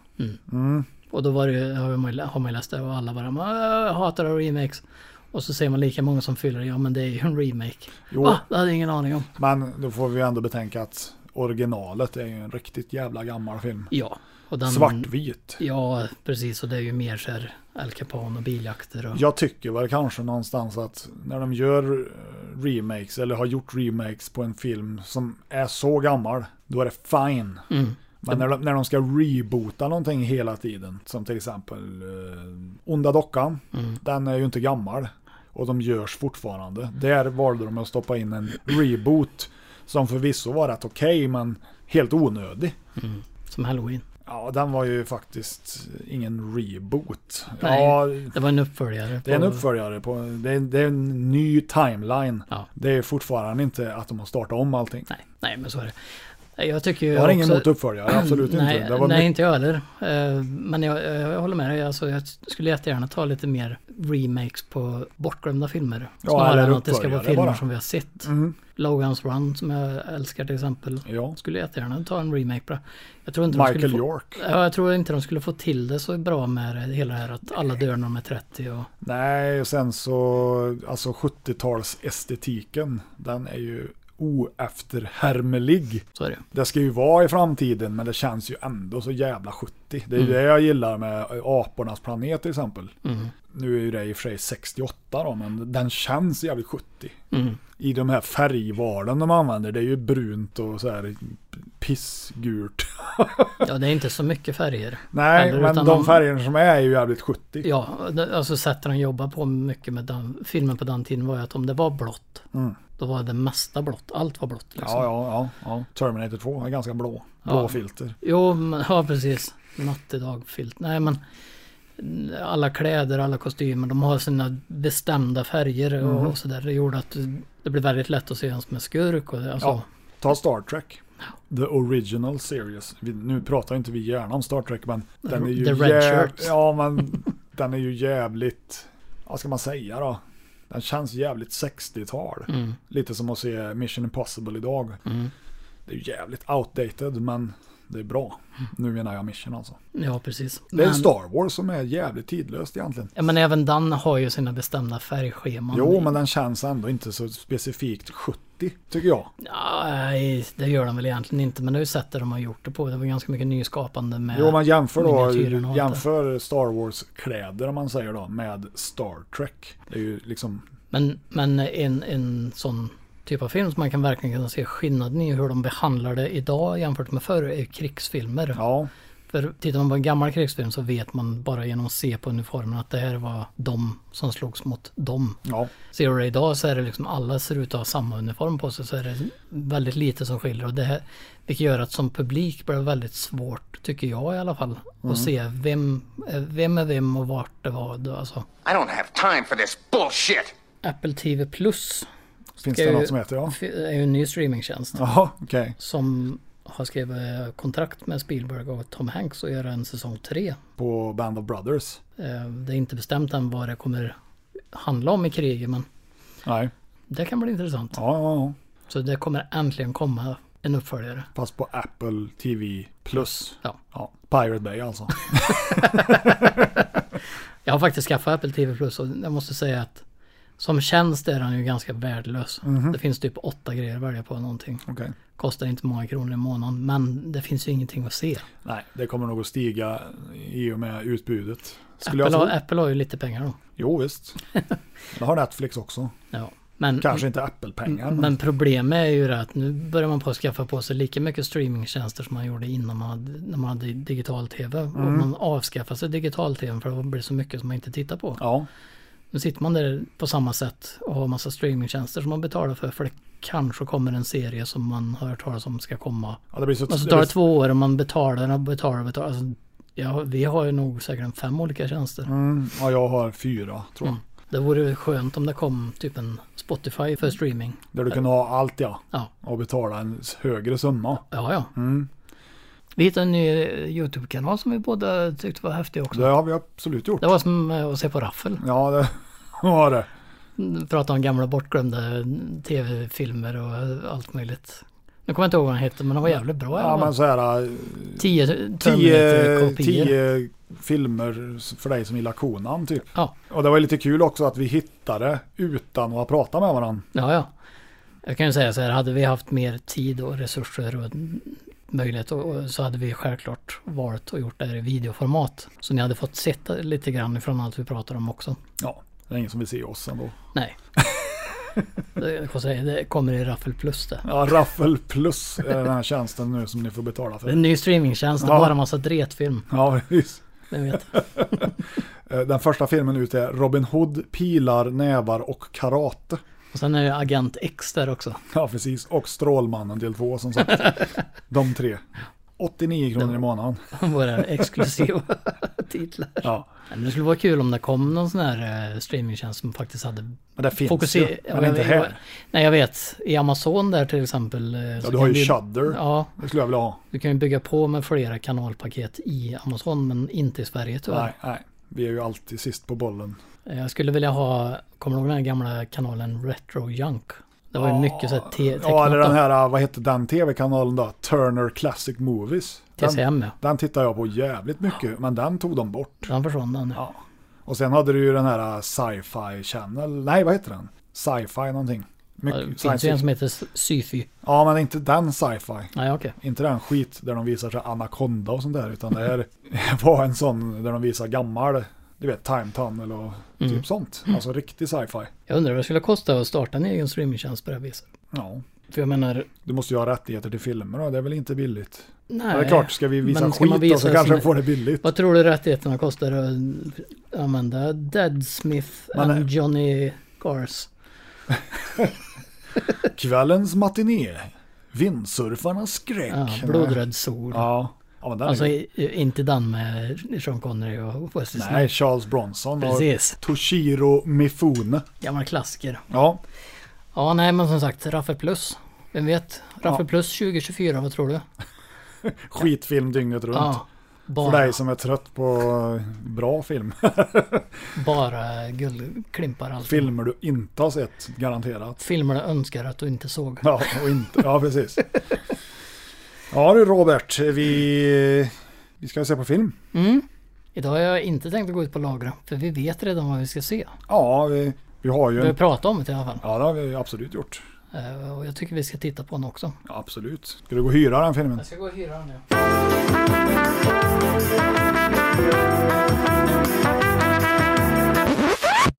Speaker 3: Och då var det, ju- har man ju- har man ju läst det och alla bara "Men, jag hatar remakes. Och så ser man lika många som fyller i, ja men det är ju en remake.
Speaker 2: Jo.
Speaker 3: Ah, det hade jag ingen aning om.
Speaker 2: Men då får vi ändå betänka att originalet är ju en riktigt jävla gammal film.
Speaker 3: Ja. Och den,
Speaker 2: Svartvit.
Speaker 3: Ja, precis. Och det är ju mer så här Al Capone och biljakter och...
Speaker 2: Jag tycker väl kanske någonstans att när de gör eh, remakes eller har gjort remakes på en film som är så gammal, då är det fine. Men när de, när de ska reboota någonting hela tiden, som till exempel eh, Onda Dockan, den är ju inte gammal och de görs fortfarande. Där valde de att stoppa in en reboot som förvisso var rätt okej, men helt onödig.
Speaker 3: Som Halloween.
Speaker 2: Ja, den var ju faktiskt ingen reboot.
Speaker 3: Nej.
Speaker 2: Ja,
Speaker 3: Det var en uppföljare.
Speaker 2: det är en
Speaker 3: på-
Speaker 2: uppföljare på, det är, det är en ny timeline.
Speaker 3: Ja.
Speaker 2: Det är fortfarande inte att de har startat om allting.
Speaker 3: Nej, nej, men så är det. Nej, Jag tycker ju
Speaker 2: Jag har ingen
Speaker 3: också-
Speaker 2: emot uppföljare, absolut
Speaker 3: nej,
Speaker 2: inte. Det var
Speaker 3: nej,
Speaker 2: mycket,
Speaker 3: inte jag heller. Eh, Men jag, jag, jag håller med dig. Alltså, jag skulle jättegärna ta lite mer remakes på bortglömda filmer.
Speaker 2: Ja,
Speaker 3: Snarare
Speaker 2: eller
Speaker 3: än att det ska vara
Speaker 2: uppföljare
Speaker 3: filmer
Speaker 2: bara. Mm.
Speaker 3: som vi har sett. Logans Run som jag älskar till exempel.
Speaker 2: ja.
Speaker 3: Skulle jättegärna ta en remake på det. Jag tror inte de
Speaker 2: Michael
Speaker 3: skulle få,
Speaker 2: York.
Speaker 3: ja, jag tror inte de skulle få till det så bra med det, hela det här att alla dör när de är 30 och...
Speaker 2: Nej, och sen så, alltså 70-talsestetiken, den är ju oefterhärmlig.
Speaker 3: Så är det ju.
Speaker 2: Det ska ju vara i framtiden, men det känns ju ändå så jävla 70. Det är ju
Speaker 3: Mm.
Speaker 2: det jag gillar med Apornas planet till exempel. Nu är ju det i och för sig 68 då, men den känns jävligt 70.
Speaker 3: Mm.
Speaker 2: I de här färgvalen de använder, det är ju brunt och så här pissgult.
Speaker 3: Ja, det är inte så mycket färger.
Speaker 2: Nej,
Speaker 3: Eller,
Speaker 2: men
Speaker 3: utan
Speaker 2: de
Speaker 3: de-
Speaker 2: färgerna som är är ju jävligt 70.
Speaker 3: Ja, det- alltså sättet de jobbar på mycket med den, filmen på den tiden var ju att om det var blått, då var det mesta blått. Allt var blått liksom.
Speaker 2: Mm. Ja, ja, ja, ja. Terminator 2 är ganska blå. Blå
Speaker 3: Ja.
Speaker 2: filter.
Speaker 3: Jo, men, ja precis. Natt idag filt. Nej men alla kläder, alla kostymer, de har sina bestämda färger
Speaker 2: Mm.
Speaker 3: och, och sådär. Det gjorde att det blev väldigt lätt att se en som en skurk. Och, det, alltså,
Speaker 2: Ja. Ta Star Trek. The original series. Vi, nu pratar inte vi gärna om Star Trek, men den är ju
Speaker 3: The red
Speaker 2: jäv-
Speaker 3: shirts.
Speaker 2: Ja, men den är ju jävligt... Vad ska man säga då? Den känns jävligt 60-tal.
Speaker 3: Mm.
Speaker 2: Lite som att se Mission Impossible idag. Det är ju jävligt outdated, men det är bra.
Speaker 3: Mm.
Speaker 2: Nu menar jag Mission alltså.
Speaker 3: ja precis.
Speaker 2: Det är
Speaker 3: Men,
Speaker 2: Star Wars som är jävligt tidlöst egentligen.
Speaker 3: ja, men även den har ju sina bestämda färgscheman.
Speaker 2: Jo, men den känns ändå inte så specifikt 70, tycker jag.
Speaker 3: Ja, nej, det gör den väl egentligen inte. Men det är ju sättet de har gjort det på. Det var ganska mycket nyskapande med...
Speaker 2: Jo, man jämför då,
Speaker 3: miniatyrerna och allt det.
Speaker 2: jämför Star Wars-kläder om man säger då med Star Trek. Det är ju liksom,
Speaker 3: Men, men en, en sån typ av film som man kan verkligen kunna se skillnaden i hur de behandlar det idag jämfört med förr är ju krigsfilmer.
Speaker 2: ja,
Speaker 3: För tittar man på en gammal krigsfilm så vet man bara genom att se på uniformen att det här var de som slogs mot dem.
Speaker 2: ja.
Speaker 3: Ser du det idag så är det liksom alla ser ut att ha samma uniform på sig så är det väldigt lite som skiljer. Och det här, vilket gör att som publik blir det väldigt svårt, tycker jag i alla fall,
Speaker 2: Mm.
Speaker 3: att se vem, eh, vem är vem och vart det var. Alltså,
Speaker 7: I don't have time for this bullshit.
Speaker 3: Apple TV Plus
Speaker 2: Finns
Speaker 3: Ska
Speaker 2: det
Speaker 3: ju-
Speaker 2: något som heter ja?
Speaker 3: är ju en ny streamingtjänst
Speaker 2: Jaha, okej.
Speaker 3: som har skrivit eh, kontrakt med Spielberg och Tom Hanks och göra en säsong tre.
Speaker 2: På Band of Brothers?
Speaker 3: Eh, Det är inte bestämt än vad det kommer handla om i kriget men
Speaker 2: Nej.
Speaker 3: det kan bli intressant.
Speaker 2: Ja, ja, ja.
Speaker 3: Så det kommer äntligen komma en uppföljare.
Speaker 2: Fast på Apple TV Plus.
Speaker 3: Ja.
Speaker 2: Ja, Pirate Bay alltså.
Speaker 3: Jag har faktiskt skaffat Apple TV Plus och jag måste säga att som tjänst är den ju ganska värdelös.
Speaker 2: Mhm.
Speaker 3: Det finns typ åtta grejer att välja på någonting.
Speaker 2: Okej.
Speaker 3: Kostar inte många kronor i månaden men det finns ju ingenting att se.
Speaker 2: Nej, det kommer nog att stiga i och med utbudet. Skulle
Speaker 3: Apple
Speaker 2: jag
Speaker 3: har,
Speaker 2: tro.
Speaker 3: Apple har ju lite pengar då.
Speaker 2: Jo, visst. Det har Netflix också.
Speaker 3: Ja. Men,
Speaker 2: Kanske inte Apple-pengar, men...
Speaker 3: Mm, men problemet är ju det att nu börjar man på att skaffa på sig lika mycket streamingtjänster som man gjorde innan man hade, när man hade digital tv. Och
Speaker 2: Mhm.
Speaker 3: man avskaffar sig digital tv för det blir så mycket som man inte tittar på.
Speaker 2: Ja,
Speaker 3: Nu sitter man där på samma sätt och har massa streamingtjänster som man betalar för. För det kanske kommer en serie som man har hört talas om ska komma.
Speaker 2: ja det blir så...
Speaker 3: Och så
Speaker 2: det
Speaker 3: tar det
Speaker 2: blir-
Speaker 3: två år och man betalar och betalar och betalar. Alltså, Ja, vi har ju nog säkert en fem olika tjänster.
Speaker 2: Mm, ja, jag har fyra tror jag.
Speaker 3: Det vore skönt om det kom typ en Spotify för streaming.
Speaker 2: Där du kan ha allt ja.
Speaker 3: Ja,
Speaker 2: Och betala en högre summa.
Speaker 3: ja. ja.
Speaker 2: Mm.
Speaker 3: Vi hittade en ny eh, YouTube-kanal som vi båda tyckte var häftig också.
Speaker 2: Det har vi absolut gjort.
Speaker 3: Det var som eh, att se på raffel.
Speaker 2: Ja, det var det.
Speaker 3: Prata om gamla bortglömda eh, tv-filmer och eh, allt möjligt. Nu kommer jag inte ihåg vad den hette men den var jävligt bra.
Speaker 2: Ja, men så här, eh,
Speaker 3: 10
Speaker 2: tio,
Speaker 3: Terminator-kopior.
Speaker 2: tio filmer för dig som gillar konan typ.
Speaker 3: Ja,
Speaker 2: Och det var ju lite kul också att vi hittade utan att ha pratat med varandra.
Speaker 3: ja, ja. Jag kan ju säga så här, hade vi haft mer tid och resurser och mm, möjlighet och, och så hade vi självklart valt och gjort det här i videoformat. Så ni hade fått sett lite grann ifrån allt vi pratar om också.
Speaker 2: Ja, det är ingen som vill se oss ändå.
Speaker 3: Nej. det, jag får säga, det kommer i Raffel Plus det.
Speaker 2: Ja, Raffel Plus är den här tjänsten nu som ni får betala
Speaker 3: Det är en
Speaker 2: för.
Speaker 3: ny streamingtjänst, det är
Speaker 2: Ja.
Speaker 3: bara massa dretfilm.
Speaker 2: Ja, precis.
Speaker 3: Vem vet?
Speaker 2: Eh, Den första filmen ut är Robin Hood, Pilar, Nävar och Karate.
Speaker 3: Och sen är det Agent X där också.
Speaker 2: Ja, precis. Och Strålmannen del två som sagt. De tre. 89 kronor i månaden.
Speaker 3: Våra exklusiva titlar.
Speaker 2: Ja.
Speaker 3: Men det skulle vara kul om det kom någon sån här eh, streamingtjänst som faktiskt hade
Speaker 2: Men det finns ju.
Speaker 3: fokuserat.
Speaker 2: Men det är inte här.
Speaker 3: Nej jag vet. I Amazon där till exempel. eh, så
Speaker 2: Ja, du
Speaker 3: kan
Speaker 2: har ju
Speaker 3: vi-
Speaker 2: Shudder.
Speaker 3: Ja,
Speaker 2: Det skulle jag vilja ha.
Speaker 3: du kan ju bygga på med flera kanalpaket i Amazon men inte i Sverige tyvärr. Eh,
Speaker 2: Nej, nej. Vi är ju alltid sist på bollen.
Speaker 3: Jag skulle vilja ha, kommer du ihåg den här gamla kanalen Retro Junk? Det var ju mycket så här te- tecknat
Speaker 2: Ja, eller den
Speaker 3: då.
Speaker 2: här, vad hette den tv-kanalen då? Turner Classic Movies. Den,
Speaker 3: TCM ja.
Speaker 2: den tittar jag på jävligt mycket, men den tog de bort.
Speaker 3: Den försvann den. Ja.
Speaker 2: Och sen hade du ju den här äh, Sci-Fi Channel. Nej, vad heter den? Sci-Fi någonting. Mycket,
Speaker 3: Det finns
Speaker 2: science
Speaker 3: ju
Speaker 2: fiction.
Speaker 3: en som heter S- Syfy.
Speaker 2: Ja, men inte den sci-fi.
Speaker 3: Nej okej.
Speaker 2: Inte den skit där de visar sig Anaconda och sånt där, utan det här var en sån där de visar gammal, du vet, Time Tunnel och
Speaker 3: Mm.
Speaker 2: typ sånt. Alltså riktig sci-fi.
Speaker 3: Jag undrar vad det skulle kosta att starta en egen streamingtjänst på det här viset.
Speaker 2: Ja.
Speaker 3: För jag menar,
Speaker 2: Du måste ju ha rättigheter till filmer och det är väl inte billigt?
Speaker 3: nej.
Speaker 2: Ja, det är klart, ska vi visa
Speaker 3: men ska man
Speaker 2: skit då så
Speaker 3: visa
Speaker 2: kanske
Speaker 3: sån-
Speaker 2: vi får det billigt.
Speaker 3: Vad tror du rättigheterna kostar att använda Dead Smith
Speaker 2: Men-
Speaker 3: and Johnny Cars?
Speaker 2: Kvällens matiné. Vindsurfarnas skräck.
Speaker 3: Ja, Blodröd sol.
Speaker 2: Ja. ja, men den
Speaker 3: alltså
Speaker 2: är ju...
Speaker 3: i- i- inte den med Sean Connery och Wesley
Speaker 2: Nej,
Speaker 3: Snipes.
Speaker 2: Charles Bronson
Speaker 3: Precis.
Speaker 2: och Toshiro Mifune.
Speaker 3: Gammal klassiker.
Speaker 2: Ja,
Speaker 3: Ja, nej men som sagt, Raffel Plus. Vem vet? Raffel Plus 2024, vad tror du?
Speaker 2: skitfilm dygnet runt.
Speaker 3: Ja,
Speaker 2: För
Speaker 3: bara,
Speaker 2: dig som är trött på eh, bra film.
Speaker 3: bara guldklimpar allt.
Speaker 2: Filmer du inte har sett, garanterat.
Speaker 3: Filmer du önskar att du inte såg.
Speaker 2: Ja, och inte. ja precis. Ja du Robert, vi, vi ska se på film.
Speaker 3: Idag har jag inte tänkt att gå ut på lagret, för vi vet redan vad vi ska se.
Speaker 2: Ja, vi, vi har ju
Speaker 3: Vi har
Speaker 2: en...
Speaker 3: pratat om det i alla fall.
Speaker 2: Ja, det har vi absolut gjort.
Speaker 3: Eh, Och jag tycker vi ska titta på den också.
Speaker 2: Ja, absolut. Ska du gå och hyra den filmen?
Speaker 3: Jag ska gå och hyra den nu.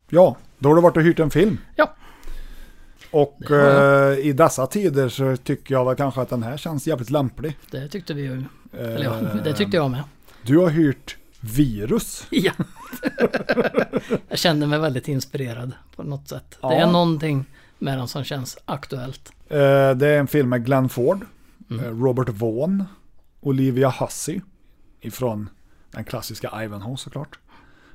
Speaker 2: Ja, då har du varit och hyrt en film.
Speaker 3: Ja,
Speaker 2: Och
Speaker 3: har
Speaker 2: eh, i dessa tider så tycker jag väl kanske att den här känns jävligt lämplig.
Speaker 3: det tyckte vi ju. Eller ja,
Speaker 2: Eh,
Speaker 3: det tyckte jag med.
Speaker 2: Du har hyrt Virus.
Speaker 3: Ja. jag kände mig väldigt inspirerad på något sätt. Det är
Speaker 2: Ja.
Speaker 3: någonting med den som känns aktuellt.
Speaker 2: Eh, det är en film med Glenn Ford, eh, Robert Vaughn, Olivia Hussey ifrån den klassiska Ivanhoe såklart.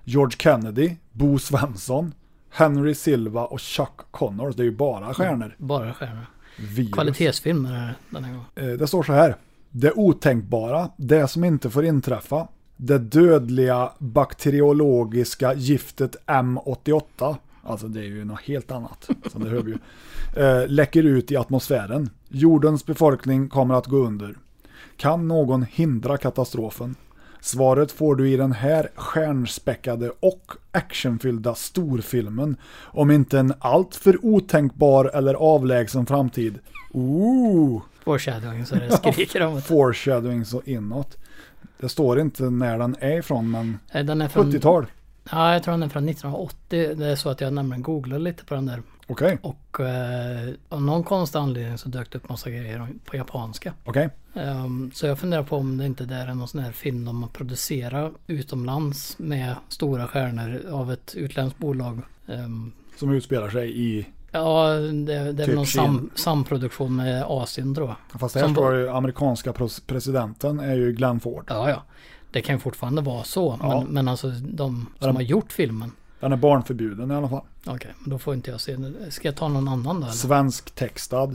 Speaker 2: George Kennedy, Bo Svensson, Henry Silva och Chuck Connors. Det är ju bara stjärnor.
Speaker 3: Bara stjärnor.
Speaker 2: Virus.
Speaker 3: Kvalitetsfilm är det den här gången.
Speaker 2: Eh, Det står så här. Det otänkbara, det som inte får inträffa. Det dödliga bakteriologiska giftet M88. Alltså det är ju något helt annat. Som det hör vi ju. Eh, Läcker ut i atmosfären. Jordens befolkning kommer att gå under. Kan någon hindra katastrofen? Svaret får du i den här stjärnspäckade och actionfyllda storfilmen om inte en alltför otänkbar eller avlägsen framtid. Ooh!
Speaker 3: Foreshadowing så det skriker om det.
Speaker 2: foreshadowing så inåt. Det står inte när den är ifrån, men
Speaker 3: Nej, Eh, Den är från,
Speaker 2: 70-tal.
Speaker 3: Ja, jag tror den är från 1980. Det är så att jag nämligen googlade lite på den där.
Speaker 2: Okej,
Speaker 3: Och eh, av någon konstig anledning så dök det upp massa grejer om- på japanska.
Speaker 2: okej.
Speaker 3: Ehm, så jag funderar på om det inte där är någon sån här film de har producerat utomlands med stora stjärnor av ett utländskt bolag. Ehm,
Speaker 2: Som utspelar sig i...
Speaker 3: ja, det, det är
Speaker 2: Typ
Speaker 3: väl någon sam,
Speaker 2: Kina.
Speaker 3: samproduktion med Asien tror jag.
Speaker 2: Fast här
Speaker 3: Som
Speaker 2: står ju amerikanska pros- presidenten är ju Glenn Ford.
Speaker 3: Ja, ja. Det kan ju fortfarande vara så.
Speaker 2: Ja.
Speaker 3: Men, men alltså de
Speaker 2: de-
Speaker 3: som har gjort filmen.
Speaker 2: Den är barnförbjuden i alla fall.
Speaker 3: Okej, men då får inte jag se den. Ska jag ta någon annan då eller?
Speaker 2: Svensk textad.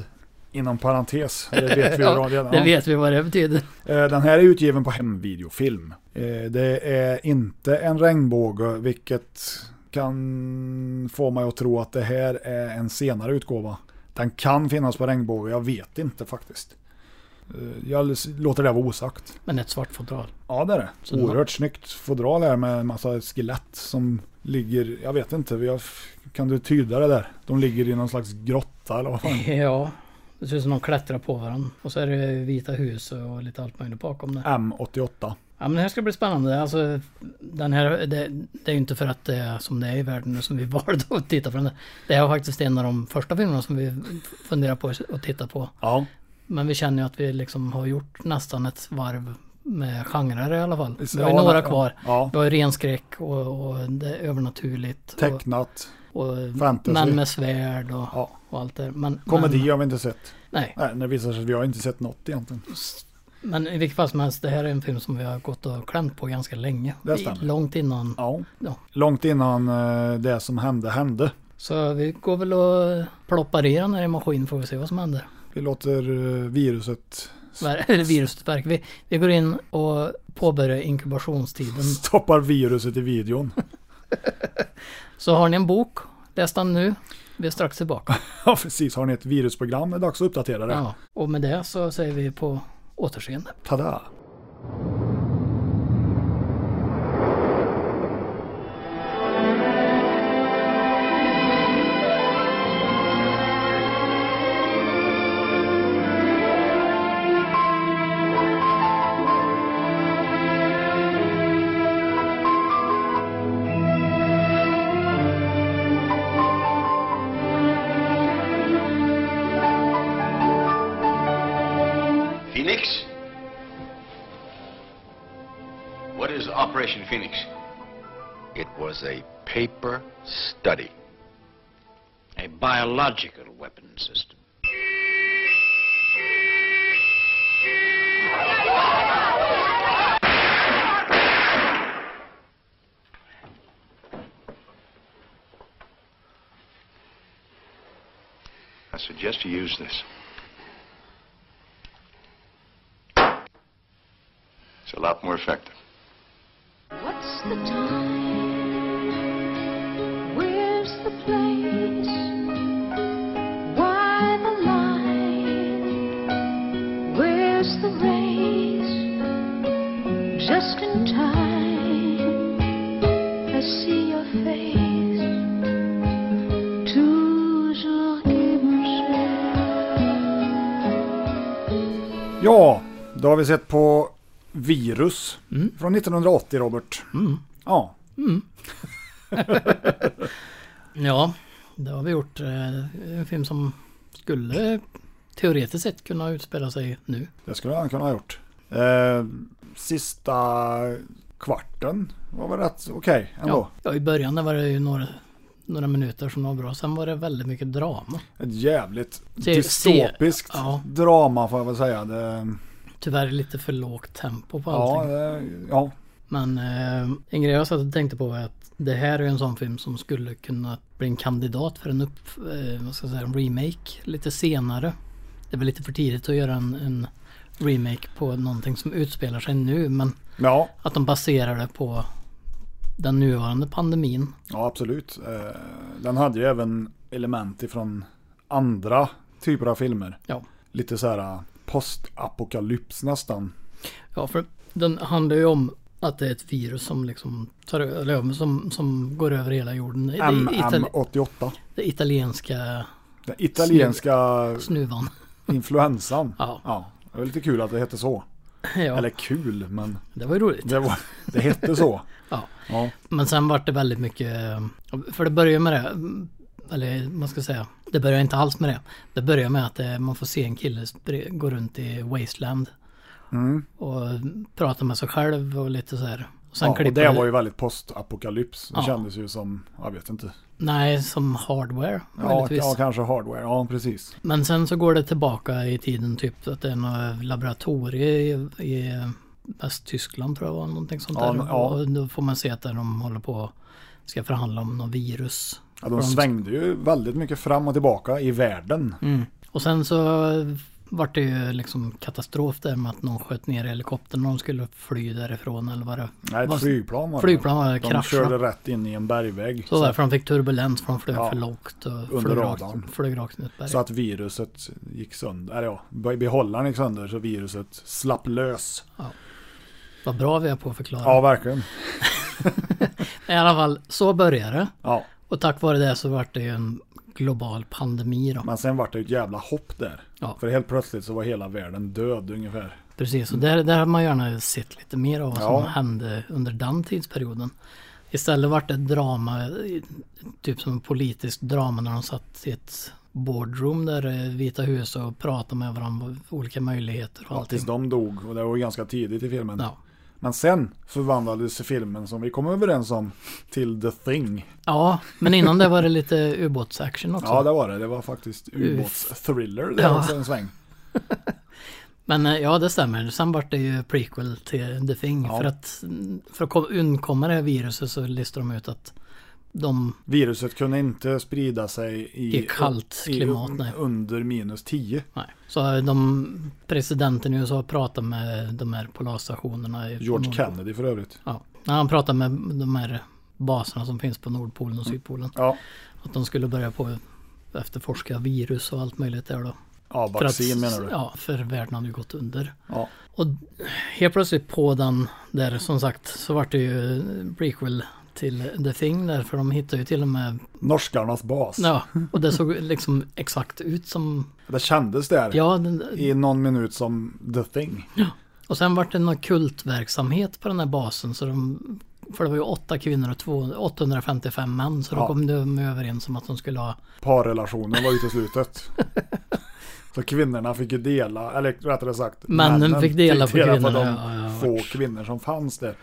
Speaker 2: Inom parentes. Det vet vi ju
Speaker 3: Ja,
Speaker 2: redan.
Speaker 3: det vet vi vad det betyder.
Speaker 2: Eh, Den här är utgiven på hemvideofilm. Eh, Det är inte en regnbåge, vilket kan få mig att tro att det här är en senare utgåva. Den kan finnas på regnbåge, jag vet inte faktiskt. Eh, Jag l- låter det vara osagt.
Speaker 3: Men ett svart fodral.
Speaker 2: Ja, det är det.
Speaker 3: det var-
Speaker 2: Oerhört snyggt fodral här med en massa skelett som ligger, jag vet inte, vi har- kan du tyda det där? De ligger i någon slags grotta eller vad fan?
Speaker 3: Ja, det ser ut som de klättrar på varandra. Och så är det vita hus och lite allt möjligt bakom det.
Speaker 2: M88.
Speaker 3: Ja men det här ska bli spännande. Alltså, den här, det, det är ju inte för att det är som det är i världen nu som vi valde att titta på den. här. Det här var faktiskt en av de första filmerna som vi funderar på att titta på.
Speaker 2: Ja,
Speaker 3: Men vi känner ju att vi liksom har gjort nästan ett varv med genrer i alla fall. Vi har ju
Speaker 2: Ja,
Speaker 3: några
Speaker 2: ja.
Speaker 3: kvar.
Speaker 2: Ja.
Speaker 3: Vi har ju renskräck och, och det är övernaturligt. Och,
Speaker 2: tecknat.
Speaker 3: och
Speaker 2: fantasy.
Speaker 3: män med svärd och,
Speaker 2: Ja.
Speaker 3: och allt det men,
Speaker 2: Komedi
Speaker 3: men,
Speaker 2: har vi inte sett.
Speaker 3: nej,
Speaker 2: Nej, det visar sig att vi har inte sett något egentligen.
Speaker 3: men i vilket fall som helst. Det här är en film som vi har gått och klämt på ganska länge.
Speaker 2: Det stämmer.
Speaker 3: Långt innan.
Speaker 2: Ja.
Speaker 3: Ja.
Speaker 2: Långt innan eh, det som hände hände.
Speaker 3: Så vi går väl och ploppar i den här i maskin får vi se vad som händer.
Speaker 2: Vi låter eh, viruset
Speaker 3: Ver- Eller virusutverk. Vi, vi går in och påbörjar inkubationstiden.
Speaker 2: stoppar viruset i videon.
Speaker 3: Så har ni en bok, läs den nu. Vi är strax tillbaka.
Speaker 2: ja, precis. Har ni ett virusprogram är det dags att uppdatera det.
Speaker 3: Ja. Och med det så säger vi på återseende.
Speaker 2: Tada!
Speaker 8: Phoenix? What is Operation Phoenix? It was a paper study. A biological weapon system. I suggest you use this. It's a lot more effective.
Speaker 9: What's the time? Where's the place? Why the line? Where's the race? Just in time, I see your face. Toujours qui
Speaker 2: Ja, då har vi sett på Virus
Speaker 3: Mm.
Speaker 2: från 1980, Robert. Ja,
Speaker 3: Ja, det har vi gjort. Eh, En film som skulle teoretiskt sett kunna utspela sig nu.
Speaker 2: det skulle han kunna ha gjort. Eh, sista kvarten var väl rätt okej ändå.
Speaker 3: Ja, i början där var det ju några, några minuter som var bra. Sen var det väldigt mycket drama.
Speaker 2: Ett jävligt
Speaker 3: Se-
Speaker 2: dystopiskt
Speaker 3: se- ja.
Speaker 2: drama får jag väl säga. Det,
Speaker 3: Tyvärr lite för lågt tempo på allting.
Speaker 2: ja, det, ja,
Speaker 3: Men eh, en grej jag satt och tänkte på var att det här är ju en sån film som skulle kunna bli en kandidat för en, upp, eh, vad ska jag säga, en remake lite senare. Det är väl lite för tidigt att göra en, en remake på någonting som utspelar sig nu men
Speaker 2: ja.
Speaker 3: att de baserar det på den nuvarande pandemin.
Speaker 2: Ja, absolut. Eh, Den hade ju även element ifrån andra typer av filmer.
Speaker 3: Ja,
Speaker 2: Lite så här eh, postapokalyps nästan.
Speaker 3: ja för den handlar ju om att det är ett virus som liksom tar ö- eller, ja, som, som går över hela jorden. Det, det, itali-
Speaker 2: MM88.
Speaker 3: det italienska
Speaker 2: Den italienska
Speaker 3: snuvan.
Speaker 2: influensan.
Speaker 3: Ja.
Speaker 2: Det var lite kul att det hette så.
Speaker 3: ja,
Speaker 2: Eller kul, men
Speaker 3: det var ju roligt.
Speaker 2: det, var, det hette så.
Speaker 3: Ja.
Speaker 2: Ja.
Speaker 3: Men sen vart det väldigt mycket, för det börjar med det, eller man ska säga, det börjar inte alls med det. Det börjar med att eh, man får se en kille spr- gå runt i Wasteland.
Speaker 2: Mm.
Speaker 3: Och prata med sig själv och lite så här. Och sen
Speaker 2: Ja, och
Speaker 3: klipper
Speaker 2: det var ju väldigt postapokalyps. Det
Speaker 3: Ja.
Speaker 2: kändes ju som, jag vet inte.
Speaker 3: Nej, som hardware
Speaker 2: Ja,
Speaker 3: möjligtvis.
Speaker 2: ja, kanske hardware. Ja, precis.
Speaker 3: Men sen så går det tillbaka i tiden typ att det är något laboratorie i, i Västtyskland tror jag var någonting sånt
Speaker 2: Ja,
Speaker 3: där.
Speaker 2: men- ja.
Speaker 3: Och då får man se att de håller på och ska förhandla om något virus.
Speaker 2: Ja, de
Speaker 3: Från-
Speaker 2: svängde ju väldigt mycket fram och tillbaka i världen.
Speaker 3: Mm. Och sen så vart det ju liksom katastrof där med att någon sköt ner helikoptern när de skulle fly därifrån eller vad det
Speaker 2: Nej, ett
Speaker 3: vad-
Speaker 2: flygplan var det.
Speaker 3: Flygplan var det,
Speaker 2: De
Speaker 3: kraschade.
Speaker 2: körde rätt in i en bergvägg.
Speaker 3: Så därför de fick turbulens för de flög
Speaker 2: Ja,
Speaker 3: för lågt och
Speaker 2: under
Speaker 3: flög
Speaker 2: radarn.
Speaker 3: rakt, flög rakt in i ett berg.
Speaker 2: Så att viruset gick sönder, eller ja, be- behållaren gick sönder så viruset slapp lös.
Speaker 3: Vad bra vi är på att förklara.
Speaker 2: Ja, verkligen.
Speaker 3: I alla fall, så började det.
Speaker 2: Ja,
Speaker 3: Och tack vare det så vart det ju en global pandemi då.
Speaker 2: men sen vart det ju ett jävla hopp där.
Speaker 3: Ja.
Speaker 2: För helt plötsligt så var hela världen död ungefär.
Speaker 3: Precis, och där, där hade man gärna sett lite mer av vad som
Speaker 2: Ja.
Speaker 3: hände under den tidsperioden. Istället vart det ett drama, eh, typ som ett politiskt drama när de satt i ett boardroom där eh, Vita huset och pratade med varandra om olika möjligheter och
Speaker 2: Ja, tills de
Speaker 3: allting.
Speaker 2: dog och det var ju ganska tidigt i filmen.
Speaker 3: Ja.
Speaker 2: Men sen förvandlades filmen som vi kom överens om till The Thing.
Speaker 3: ja, men innan det var det lite ubåtsaction också.
Speaker 2: Ja, det var det. Det var faktiskt ubåtsthriller det
Speaker 3: Ja.
Speaker 2: också en sväng.
Speaker 3: Men eh, ja, det stämmer. Sen vart det ju prequel till The Thing.
Speaker 2: Ja.
Speaker 3: För att, för att kom- undkomma det här viruset så listar de ut att de
Speaker 2: Viruset kunde inte sprida sig i,
Speaker 3: I kallt
Speaker 2: i-
Speaker 3: klimat, nej.
Speaker 2: under minus 10.
Speaker 3: Nej. Så de, presidenten i USA pratar med de här polarstationerna. i-
Speaker 2: George
Speaker 3: Nord-
Speaker 2: Kennedy för övrigt.
Speaker 3: Ja. När han pratar med de här baserna som finns på Nordpolen och Sydpolen.
Speaker 2: Ja,
Speaker 3: Att de skulle börja på att efterforska virus och allt möjligt där då.
Speaker 2: ja
Speaker 3: För
Speaker 2: vaccin
Speaker 3: att,
Speaker 2: menar du?
Speaker 3: Ja, för världen hade ju gått under.
Speaker 2: Ja.
Speaker 3: Och helt plötsligt på den där som sagt så vart det ju prequel till The Thing där för de hittade ju till och med,
Speaker 2: Norskarnas bas.
Speaker 3: ja, och det såg liksom exakt ut som,
Speaker 2: Det kändes där
Speaker 3: ja, den,
Speaker 2: i någon minut som The Thing.
Speaker 3: Och sen vart det någon kultverksamhet på den här basen. Så de, för det var ju åtta kvinnor och två, 855 män. Så
Speaker 2: Ja.
Speaker 3: då kom de överens om att de skulle ha...
Speaker 2: Parrelationen var uteslutet. Så kvinnorna fick ju dela, eller rättare sagt
Speaker 3: Männen fick dela på
Speaker 2: på de
Speaker 3: kvinnorna, ja, ja, ja.
Speaker 2: få kvinnor som fanns där.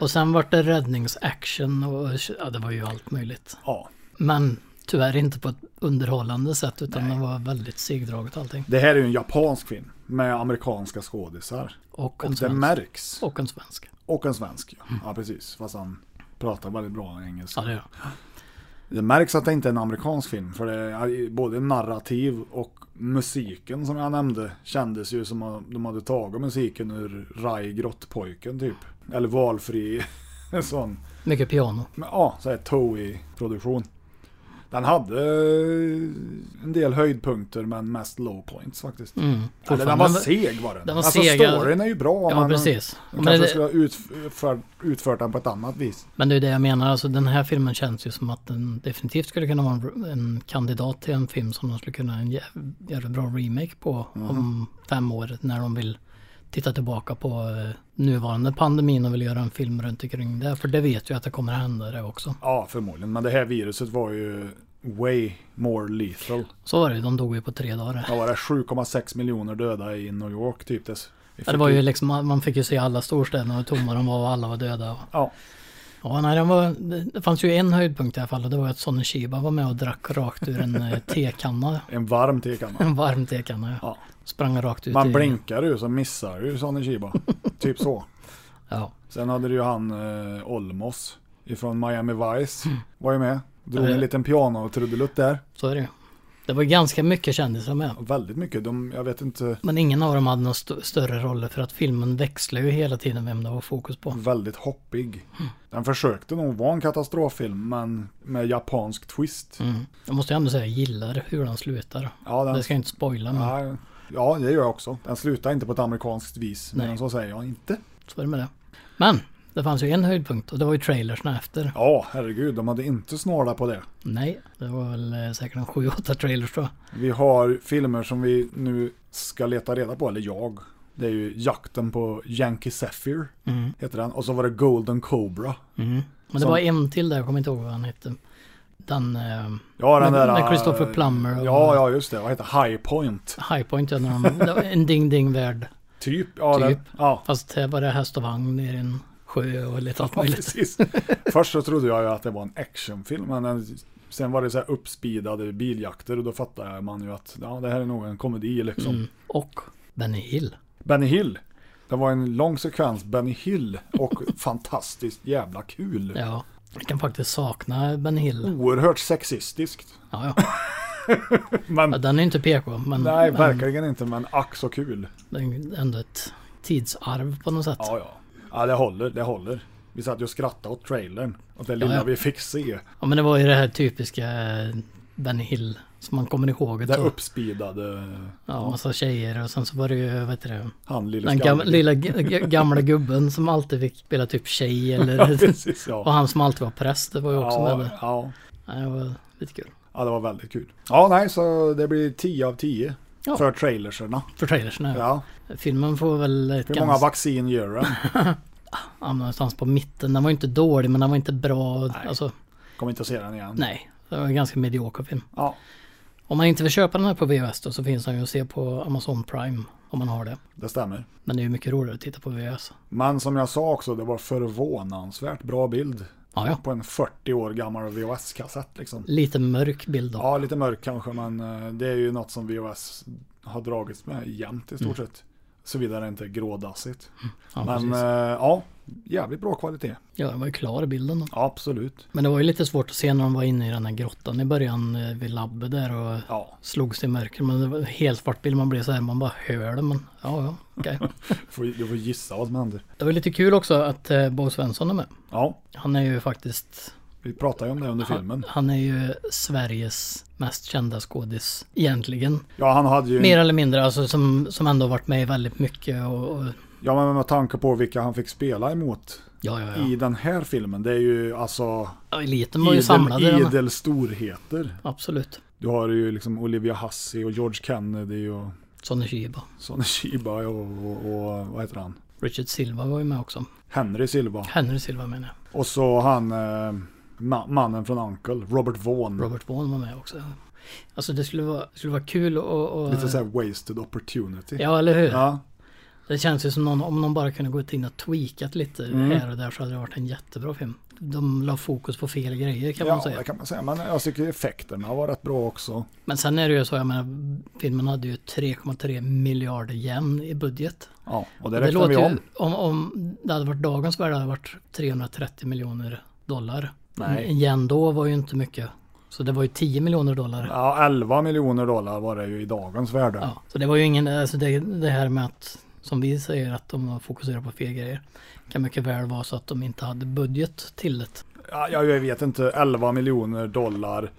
Speaker 3: Och sen vart det räddningsaction och ja, det var ju allt möjligt.
Speaker 2: Ja.
Speaker 3: Men tyvärr inte på ett underhållande sätt utan det var väldigt segdraget allting.
Speaker 2: Det här är ju en japansk film med amerikanska skådisar.
Speaker 3: Och en
Speaker 2: Och det
Speaker 3: svensk.
Speaker 2: märks.
Speaker 3: Och en svensk.
Speaker 2: Och en svensk. Ja, ja precis. Fast han pratar väldigt bra engelska.
Speaker 3: Ja, det gör jag.
Speaker 2: Det märks att det inte är en amerikansk film. För det är både narrativ och musiken som jag nämnde kändes ju som att de hade tagit musiken ur Rai Grottpojken typ. Eller valfri en sån.
Speaker 3: Mycket piano.
Speaker 2: Men, ja, så här Toei-produktion. Den hade eh, en del höjdpunkter men mest low points faktiskt. Eller, den
Speaker 3: Mm, fortfarande.
Speaker 2: var
Speaker 3: Den var-
Speaker 2: seg var den.
Speaker 3: den var
Speaker 2: alltså
Speaker 3: seg, ja.
Speaker 2: storyn är ju bra.
Speaker 3: Ja,
Speaker 2: men
Speaker 3: precis.
Speaker 2: De
Speaker 3: Men
Speaker 2: kanske
Speaker 3: det-
Speaker 2: skulle ha utfört, utfört den på ett annat vis.
Speaker 3: Men det är det jag menar, alltså den här filmen känns ju som att den definitivt skulle kunna vara en, en kandidat till en film som de skulle kunna göra en jä- jävla bra remake på om fem år när de vill titta tillbaka på eh, nuvarande pandemin och vill göra en film runt omkring det. För det vet ju att det kommer att hända det också.
Speaker 2: Ja, förmodligen. Men det här viruset var ju way more lethal.
Speaker 3: Så var det ju, de dog ju på tre dagar.
Speaker 2: Det var det 7,6 miljoner döda i New York typ. Det,
Speaker 3: Ja, det var ju liksom, man fick ju se alla storstäderna och hur tomma de var och alla var döda. Och,
Speaker 2: Ja,
Speaker 3: ja, nej, den var, det, det fanns ju en höjdpunkt i alla fall och det var ju att Sonny Shiba var med och drack rakt ur en eh, tekanna.
Speaker 2: en varm tekanna.
Speaker 3: En varm tekanna.
Speaker 2: Ja.
Speaker 3: Ja. Sprang rakt ut
Speaker 2: Man
Speaker 3: i-
Speaker 2: blinkar ju så missar ju Sonny Chiba. typ så.
Speaker 3: Ja.
Speaker 2: Sen hade du ju han eh, Olmos ifrån Miami Vice.
Speaker 3: Mm.
Speaker 2: Var ju med. Drog
Speaker 3: Ja,
Speaker 2: en
Speaker 3: ja.
Speaker 2: liten piano och trudelutt där.
Speaker 3: Så är det ju. Det var ganska mycket kändisar med.
Speaker 2: Väldigt mycket. De, jag vet inte.
Speaker 3: Men ingen av dem hade några st- större roller för att filmen växlar ju hela tiden vem det var fokus på.
Speaker 2: Väldigt hoppig.
Speaker 3: Mm.
Speaker 2: Den försökte nog vara en katastroffilm men med japansk twist.
Speaker 3: Mm. Jag måste ju ändå säga jag gillar hur den slutar.
Speaker 2: Ja, den-
Speaker 3: Det ska jag inte spoila men
Speaker 2: Ja, ja, det gör jag också. Den slutar inte på ett amerikanskt vis. Men
Speaker 3: Nej.
Speaker 2: så säger jag inte.
Speaker 3: så är det med det. Men det fanns ju en höjdpunkt och det var ju trailersna efter.
Speaker 2: Ja, herregud. De hade inte snålat på det.
Speaker 3: Nej, det var väl eh, säkert en 7-8 trailers då.
Speaker 2: Vi har filmer som vi nu ska leta reda på, eller jag. Det är ju Jakten på Yankee Sapphire,
Speaker 3: Mm.
Speaker 2: heter den. Och så var det Golden Cobra.
Speaker 3: Men det var en till där, jag kommer inte ihåg vad han hette. Den... Eh,
Speaker 2: Ja, den
Speaker 3: med,
Speaker 2: där... äh,
Speaker 3: med Christopher Plummer och
Speaker 2: Ja, ja, just det. Vad heter det? High Point?
Speaker 3: High Point. Ja, när de, det var en ding-ding-värld.
Speaker 2: Typ. Ja,
Speaker 3: Typ.
Speaker 2: Den, ja.
Speaker 3: Fast här var det häst och vagn ner i en sjö och lite allt
Speaker 2: Ja,
Speaker 3: möjligt.
Speaker 2: precis. Först så trodde jag ju att det var en actionfilm, men den- sen var det så här uppspeedade biljakter och då
Speaker 3: Mm.
Speaker 2: fattade man ju att ja, det här är nog en komedi liksom.
Speaker 3: Och Benny Hill.
Speaker 2: Benny Hill, Det var en lång sekvens Benny Hill och fantastiskt jävla kul.
Speaker 3: Ja, jag kan faktiskt sakna Ben Hill.
Speaker 2: Oerhört sexistiskt.
Speaker 3: Ja, ja.
Speaker 2: Men,
Speaker 3: ja den är ju inte PK, men,
Speaker 2: nej,
Speaker 3: men
Speaker 2: verkligen inte, men ack så kul.
Speaker 3: den är ändå ett tidsarv på något sätt.
Speaker 2: Ja, ja. Ja, det håller, det håller. Vi satt ju och skrattade åt trailern. Och det lilla
Speaker 3: Ja, ja.
Speaker 2: vi fick se.
Speaker 3: Ja, men det var ju det här typiska eh, Benny Hill som man kommer ihåg.
Speaker 2: Det
Speaker 3: Så-
Speaker 2: uppspidade
Speaker 3: Ja, massa tjejer och sen så var det ju, vad heter det,
Speaker 2: han lille
Speaker 3: den gam-
Speaker 2: skallen.
Speaker 3: lilla g- g- gamla gubben som alltid fick spela typ tjej eller...
Speaker 2: Precis,
Speaker 3: och
Speaker 2: ja.
Speaker 3: han som alltid var präst, det var ju också med
Speaker 2: Ja,
Speaker 3: där.
Speaker 2: ja.
Speaker 3: Nej, det var lite kul.
Speaker 2: ja, det var väldigt kul. Ja, nej, så det blir 10 av 10
Speaker 3: Ja.
Speaker 2: för trailerserna.
Speaker 3: För trailersen ja.
Speaker 2: Ja.
Speaker 3: Filmen får väl ett
Speaker 2: Hur många
Speaker 3: ganska...
Speaker 2: vaccin gör den?
Speaker 3: ja, någonstans på mitten. Den var ju inte dålig men den var inte bra. Nej. Alltså,
Speaker 2: Kommer inte att se den igen.
Speaker 3: nej. Det var en ganska medioker film.
Speaker 2: Ja.
Speaker 3: Om man inte vill köpa den här på VHS då så finns den ju att se på Amazon Prime. Om man har det.
Speaker 2: Det stämmer.
Speaker 3: Men det är ju mycket roligare att titta på VHS.
Speaker 2: Men som jag sa också, det var förvånansvärt bra bild.
Speaker 3: Ja, ja.
Speaker 2: På en 40 år gammal VHS-kassett liksom.
Speaker 3: Lite mörk bild då.
Speaker 2: Ja, lite mörk kanske, men eh, det är ju något som VHS har dragits med jämt i stort sett. Såvida det inte är grådassigt.
Speaker 3: Mm. Ja,
Speaker 2: men
Speaker 3: precis.
Speaker 2: eh, ja, jävligt bra kvalitet.
Speaker 3: Ja, den var ju klar bilden då.
Speaker 2: Ja, absolut.
Speaker 3: Men det var ju lite svårt att se när de var inne i den här grottan i början eh, vid labbet där och
Speaker 2: Ja,
Speaker 3: slogs i mörker. Men det var helt svart bild. Man blev så här, man bara hör det. Men ja, ja, okej.
Speaker 2: får, du får gissa vad som händer.
Speaker 3: det var lite kul också att eh, Bo Svensson är med.
Speaker 2: Ja,
Speaker 3: Han är ju faktiskt,
Speaker 2: vi pratade ju om det under filmen.
Speaker 3: han är ju Sveriges mest kända skådis egentligen.
Speaker 2: Ja, han hade ju...
Speaker 3: Mer eller mindre, alltså som, som ändå varit med i väldigt mycket och, och
Speaker 2: Ja, men med tanke på vilka han fick spela emot
Speaker 3: ja, ja,
Speaker 2: i
Speaker 3: ja.
Speaker 2: den här filmen. Det är ju alltså
Speaker 3: ja. Eliten var ju
Speaker 2: idel,
Speaker 3: samlad i den. här.
Speaker 2: idel storheter.
Speaker 3: Absolut.
Speaker 2: Du har ju liksom Olivia Hussey och George Kennedy och
Speaker 3: Sonny Shiba.
Speaker 2: Sonny Shiba och, och, och vad heter han?
Speaker 3: Richard Silva var ju med också.
Speaker 2: Henry Silva.
Speaker 3: Henry Silva menar jag.
Speaker 2: Och så han, eh, ma- mannen från Uncle, Robert Vaughn.
Speaker 3: Robert Vaughn var med också. Alltså det skulle vara, skulle vara kul och, och
Speaker 2: Lite såhär wasted opportunity.
Speaker 3: Ja, eller hur?
Speaker 2: Ja,
Speaker 3: Det känns ju som någon, om någon bara kunde gått in och tweakat lite här och där så hade det varit en jättebra film. De la fokus på fel grejer kan man
Speaker 2: ja
Speaker 3: säga.
Speaker 2: det kan man säga. Men jag tycker effekterna var rätt bra också.
Speaker 3: Men sen är det ju så, jag menar, filmen hade ju 3,3 miljarder yen i budget.
Speaker 2: Ja, och det
Speaker 3: det
Speaker 2: räknar vi
Speaker 3: låter
Speaker 2: om.
Speaker 3: ju, om, om det hade varit dagens värde hade det varit 330 miljoner dollar.
Speaker 2: Nej.
Speaker 3: En yen då var ju inte mycket. Så det var ju 10 miljoner dollar.
Speaker 2: Ja, 11 miljoner dollar var det ju i dagens värde.
Speaker 3: Ja, så det var ju ingen, alltså det, det här med att som vi säger att de fokuserar på fel grejer. Kan mycket väl vara så att de inte hade budget till det.
Speaker 2: Ja, jag, jag vet inte, 11 miljoner dollar